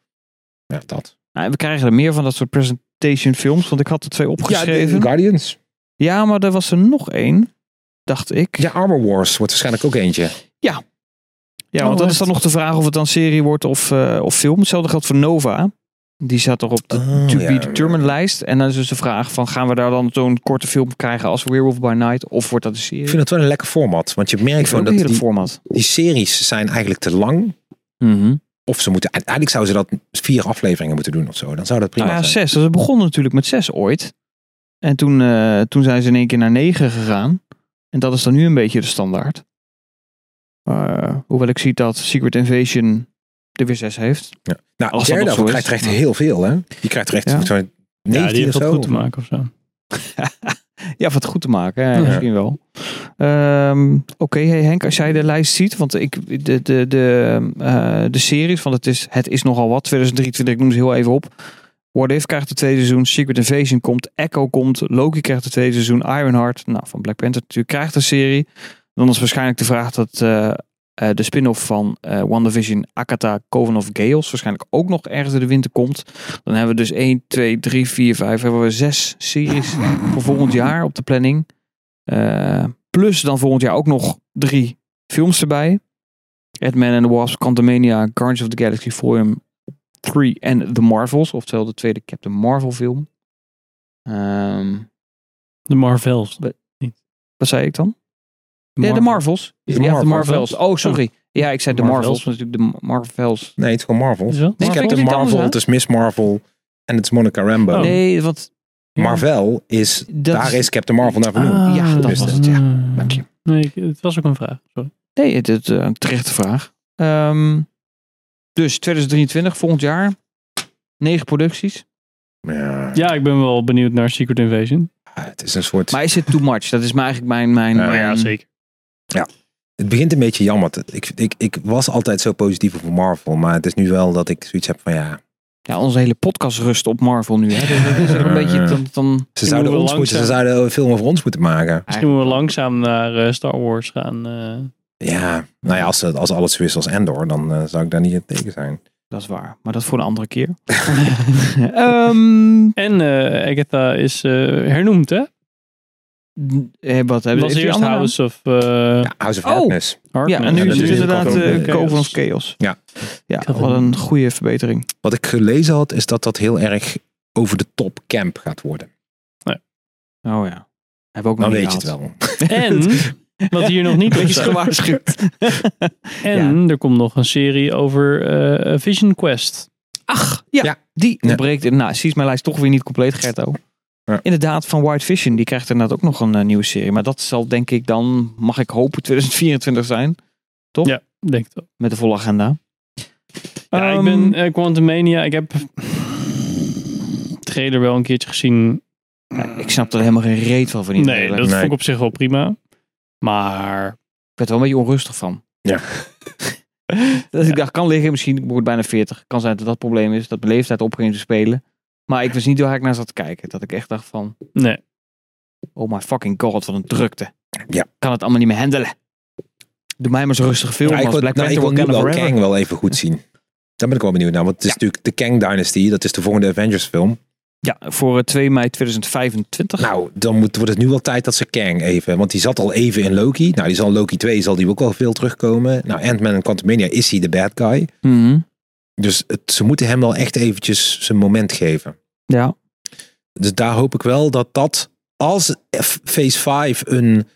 S3: Ja, dat.
S1: nou, we krijgen er meer van dat soort presentation films, want ik had er twee opgeschreven. Ja,
S3: Guardians.
S1: maar er was er nog één, dacht ik.
S3: Ja, Armor Wars wordt waarschijnlijk ook eentje.
S1: Ja, want dat is dan nog de vraag of het dan serie wordt of, eh, of film. Hetzelfde geldt voor Nova. Die zat toch op de
S3: Oh,
S1: To
S3: ja,
S1: Be
S3: ja.
S1: Determined lijst. En dan is dus de vraag van, gaan we daar dan zo'n korte film krijgen als Werewolf by Night? Of wordt dat een serie?
S3: Ik vind het wel een lekker format. Want je merkt
S1: vind
S3: gewoon
S1: ook een
S3: dat
S1: heerlijk
S3: die,
S1: format.
S3: die Mhm. series zijn eigenlijk te lang. Of ze moeten, eigenlijk zouden ze dat vier afleveringen moeten doen of zo. Dan zou dat prima
S1: Nou ja,
S3: zijn.
S1: zes. Dus we begonnen natuurlijk met zes ooit. En toen, eh, toen zijn ze in één keer naar negen gegaan. En dat is dan nu een beetje de standaard. Eh, hoewel ik zie dat Secret Invasion er weer zes heeft. Als dat
S3: Nou,
S1: nog zo
S3: Daredevil
S1: is.
S3: krijgt er echt heel veel, hè? Die krijgt er echt
S1: Ja.
S3: zo'n
S4: Ja,
S3: 19
S4: die heeft
S3: of
S4: dat
S3: zo.
S4: goed te maken of zo.
S1: Ja, om het goed te maken. hè,
S4: Ja.
S1: Misschien wel. Ehm, Oké, hey Henk, als jij de lijst ziet. Want ik, de, de, de, eh, de series, want het is, het is nogal wat. 2023, ik noem ze heel even op. What If krijgt het tweede seizoen. Secret Invasion komt. Echo komt. Loki krijgt het tweede seizoen. Ironheart, nou van Black Panther natuurlijk, krijgt een serie. Dan is waarschijnlijk de vraag dat eh, eh, de spin-off van eh WandaVision, Akata, Coven of Gales... waarschijnlijk ook nog ergens in de winter komt. Dan hebben we dus 1, 2, 3, 4, 5... hebben we zes series voor volgend jaar op de planning. Eh, plus dan volgend jaar ook nog drie films erbij. Ant-Man and the Wasp, Quantumania, Guardians of the Galaxy Volume 3 en The Marvels. Oftewel de tweede Captain Marvel film. Ehm,
S4: De Marvels.
S1: wat zei ik dan? ja, de Marvels.
S3: De
S1: ja, de
S3: Marvels.
S1: Marvels. Oh, sorry. Ja, ik zei de
S4: Marvels.
S1: Marvels. maar natuurlijk de Marvels.
S3: Nee, het is gewoon Marvel.
S4: Is wel?
S1: Nee,
S3: ik heb
S1: Oh, vind
S3: de
S1: ik iets anders,
S3: Marvel,
S1: hè?
S3: het is Miss Marvel en het is Monica Rambo.
S4: Oh.
S1: Nee, want
S3: Marvel is,
S1: dat
S3: daar
S1: is... Ah.
S3: is Captain Marvel naar vernoemd.
S1: ja, dat
S3: dus
S1: was
S3: dat-
S1: het. Ja,
S4: Hmm.
S1: dank je.
S4: Nee, ik- het was ook een vraag. Sorry.
S1: Nee, het is een terechte vraag. Ehm, dus 2023, volgend jaar. Negen producties.
S3: Ja,
S4: Ja, ik ben wel benieuwd naar Secret Invasion.
S3: het is een soort...
S1: Maar is het too much? Dat is maar eigenlijk mijn... mijn,
S3: Ja,
S1: mijn-
S3: Het begint een beetje jammer. te- Ik, ik, ik was altijd zo positief over Marvel, maar het is nu wel dat ik zoiets heb van ja...
S1: Ja, onze hele podcast rust op Marvel nu. Hè? Dus dat is ook een beetje... Dan, dan,
S3: Ze zouden,
S4: we
S3: ons moeten, ze
S4: langzaam-
S3: zouden een film over ons moeten maken.
S4: Misschien moeten we langzaam naar eh, Star Wars gaan. eh.
S3: Ja, nou ja, als, ze- als alles zo is als Endor, dan eh, zou ik daar niet tegen zijn.
S1: dat is waar. Maar dat voor een andere keer. Ehm,
S4: En eh, Agatha is eh, hernoemd, hè?
S1: eh, wat hebben
S4: was
S1: heeft die
S4: eerst
S1: andere
S4: House of eh
S3: Ja, House of
S1: Oh.
S3: Darkness.
S1: naam?
S4: Harkness.
S1: Ja, en nu
S3: Ja,
S1: is
S3: dat
S1: het
S3: is
S1: inderdaad
S3: Coven
S1: eh,
S3: of
S1: Coven of Chaos.
S3: Ja.
S1: Ja,
S4: Coven.
S1: wat een goede verbetering.
S3: Wat ik gelezen had, is dat dat heel erg over de top camp gaat worden.
S1: Oh ja. Hebben we ook nog
S3: Dan
S1: niet
S3: weet je het
S1: gehad.
S3: wel.
S4: En, wat hier nog niet op
S1: Wees
S4: staat.
S1: gewaarschuwd.
S4: En er komt nog een serie over eh, Vision Quest.
S1: Ach, ja.
S3: Ja.
S1: Die
S3: Ja.
S1: ontbreekt. in- Nou, zie is mijn lijst toch weer niet compleet, Gerto.
S3: Ja.
S1: Inderdaad, van White Vision. Die krijgt inderdaad ook nog een eh, nieuwe serie. Maar dat zal denk ik dan, mag ik hopen, 2024 zijn.
S4: Ja, denk het wel.
S1: Met de volle agenda.
S4: Ja, ik
S1: Ehm,
S4: ben eh, Quantumania. Ik heb trailer wel een keertje gezien.
S1: ja, ik snap er helemaal geen reet van. van die
S4: eh, Nee,
S1: trailer.
S4: dat
S1: Ik
S4: vond ik op zich wel prima. Maar
S1: werd er wel een beetje onrustig van.
S3: Ja.
S1: dat ik dacht, kan liggen. Misschien ik word bijna 40. Kan zijn dat dat het probleem is. Dat mijn leeftijd op ging te spelen. Maar ik wist niet waar ik naar zat te kijken. Dat ik echt dacht van,
S4: nee,
S1: oh my fucking god, wat een drukte.
S3: Ja.
S1: Kan het allemaal niet meer handelen. Doe mij maar zo rustig film
S3: Ja, ik
S1: als
S3: wil,
S1: Black
S3: nou, ik
S1: Panther
S3: wil nu
S1: Wakanda
S3: wel
S1: Forever.
S3: Kang wel even goed zien. Daar ben ik wel benieuwd naar. Want het is natuurlijk de Kang Dynasty. Dat is de volgende Avengers film.
S1: Ja, voor eh, 2 mei 2025.
S3: Nou, dan moet, wordt het nu wel tijd dat ze Kang even... Want die zat al even in Loki. Nou, die zal in Loki 2 zal die ook wel veel terugkomen. Nou, Ant-Man en Quantumania is hij de bad guy.
S1: Mhm.
S3: Dus het, ze moeten hem wel echt eventjes zijn moment geven.
S1: Ja.
S3: Dus daar hoop ik wel dat dat... Als F- Phase 5 een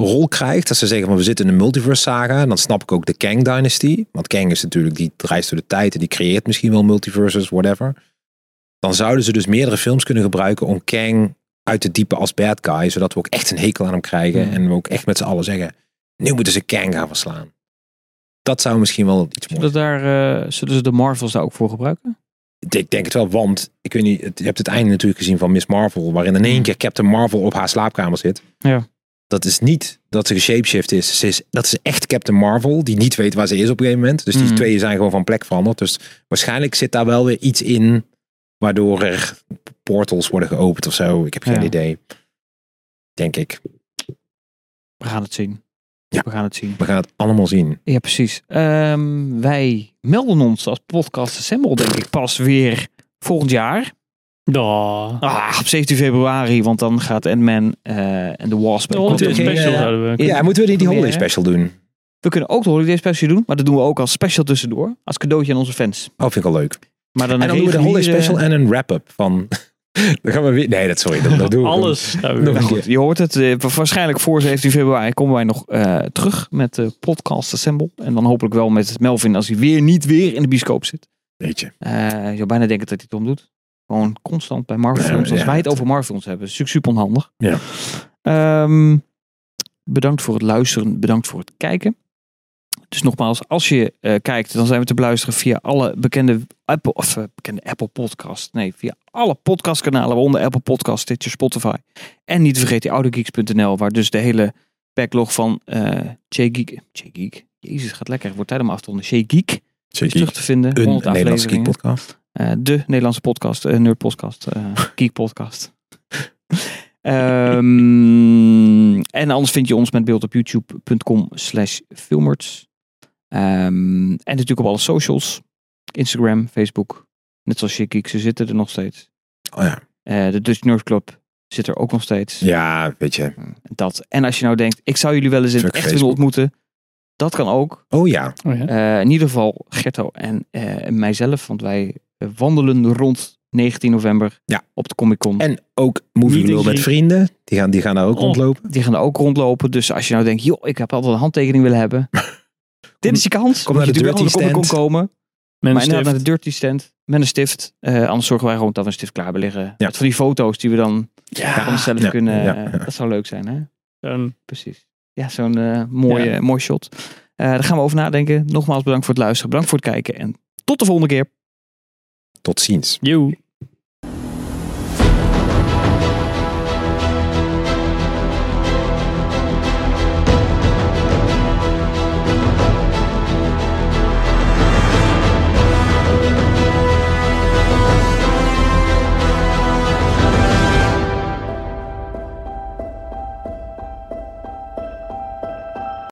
S3: rol krijgt... Dat ze zeggen van we zitten in een multiverse saga... Dan snap ik ook de Kang Dynasty. Want Kang is natuurlijk... Die reist door de tijd en die creëert misschien wel multiverses, whatever. Dan zouden ze dus meerdere films kunnen gebruiken... om Kang uit te diepen als bad guy... zodat we ook echt een hekel aan hem krijgen...
S1: Ja.
S3: en we ook echt met z'n allen zeggen... nu moeten ze Kang gaan verslaan. Dat zou misschien wel iets moois
S1: Zullen, daar, eh, zullen ze de Marvels daar ook voor gebruiken?
S3: Ik denk het wel, want ik weet niet, het- je hebt het einde natuurlijk gezien van Miss Marvel, waarin in één keer Captain Marvel op haar slaapkamer zit.
S1: Mm. Ja.
S3: Dat is niet dat ze geshapeshift is. Ze is. Dat is echt Captain Marvel, die niet weet waar ze is op een gegeven moment. Dus die
S1: Mhm.
S3: twee zijn gewoon van plek veranderd. Dus waarschijnlijk zit daar wel weer iets in, waardoor er portals worden geopend of zo. Ik heb geen
S1: Ja.
S3: idee. Denk ik.
S1: We gaan het zien.
S3: Ja.
S1: We gaan het zien.
S3: We gaan het allemaal zien.
S1: Ja, precies. Ehm, wij melden ons als podcast Assemble, denk ik, pas weer volgend jaar.
S4: Duh.
S1: Ah, op 17 februari, want dan gaat Ant-Man eh, en The Wasp.
S4: De
S1: en
S4: holiday
S1: Quantum-
S4: special
S3: eh,
S4: zouden we.
S1: Ja,
S3: Ja, moeten we die, die holiday
S1: hè?
S3: special doen?
S1: We kunnen ook de holiday special doen, maar dat doen we ook als special tussendoor. Als cadeautje aan onze fans.
S3: Oh, vind ik al leuk.
S1: Maar dan, eh,
S3: En dan doen we de holiday
S1: reguliere-
S3: special en een wrap-up van... dan gaan we weer... Nee, dat, sorry, dat, dat doen we gewoon.
S4: Alles. zouden we
S1: Nou
S3: Nog
S4: doen.
S3: een
S1: goed, je hoort het. eh, wa- waarschijnlijk voor 17 februari komen wij nog eh, terug met de podcast Assemble. En dan hopelijk wel met Melvin als hij weer niet weer in de bioscoop zit.
S3: Weet je.
S1: Eh, je zou bijna denken dat hij het om doet. Gewoon constant bij Marvel
S3: Ja,
S1: films. Als
S3: ja,
S1: wij het
S3: dat-
S1: over Marvel films hebben, is natuurlijk super onhandig.
S3: Ja.
S1: Ehm, bedankt voor het luisteren. Bedankt voor het kijken. Dus nogmaals, als je eh, kijkt, dan zijn we te beluisteren via alle bekende Apple, of, eh, bekende Apple podcast. Nee, via alle podcastkanalen, waaronder Apple Podcast, Stitcher, Spotify. En niet te vergeten audiogeeks.nl, waar dus de hele backlog van eh J-Geek... J-Geek? Jezus, gaat lekker. Wordt tijd om af te ronden. J-Geek is terug te vinden.
S3: Een
S1: 100
S3: Nederlandse
S1: afleveringen.
S3: geekpodcast.
S1: Eh, de Nederlandse podcast, eh, nerd podcast, eh, geek podcast. Ehm, en anders vind je ons met beeld op youtube.com slash filmerts. Ehm, en natuurlijk op alle socials. Instagram, Facebook. Net zoals Chic Geek, ze zitten er nog steeds.
S3: Oh ja.
S1: Eh, de Dutch Nerd Club zit er ook nog steeds.
S3: ja, weet je.
S1: Dat. En als je nou denkt, ik zou jullie wel eens in het
S3: Fuck
S1: echt
S3: Facebook.
S1: willen ontmoeten. Dat kan ook.
S3: Oh ja.
S4: Oh, ja.
S1: Eh, in ieder geval Gerto en eh, mijzelf, want wij eh, wandelen rond 19 november
S3: Ja.
S1: op de Comic Con.
S3: En ook Movie
S4: Niet
S3: Lul
S4: een
S3: met
S4: geek.
S3: vrienden. Die gaan, die gaan daar ook
S4: Oh.
S3: rondlopen.
S1: Die gaan er ook rondlopen, dus als je nou denkt, joh, ik heb altijd een handtekening willen hebben. Dit is je kans.
S3: kom
S1: Moet
S3: naar
S1: je
S3: de
S1: natuurlijk
S3: Dirty
S1: wel naar de Comic
S3: Stand.
S1: Con komen. Maar
S4: Mensen
S1: inderdaad naar de Dirty Stand met een stift. Eh, anders zorgen wij gewoon dat we een stift klaar hebben liggen.
S3: Ja.
S1: Met van die foto's die we dan van
S3: Ja.
S1: onszelf
S3: Ja,
S1: kunnen.
S3: ja,
S1: eh,
S3: ja.
S1: Dat zou leuk zijn, hè?
S4: zo'n-
S1: Precies. Ja, zo'n eh, mooie,
S4: Ja.
S1: mooi shot. Eh, daar gaan we over nadenken. Nogmaals bedankt voor het luisteren. Bedankt voor het kijken. En tot de volgende keer.
S3: Tot ziens.
S4: Joe.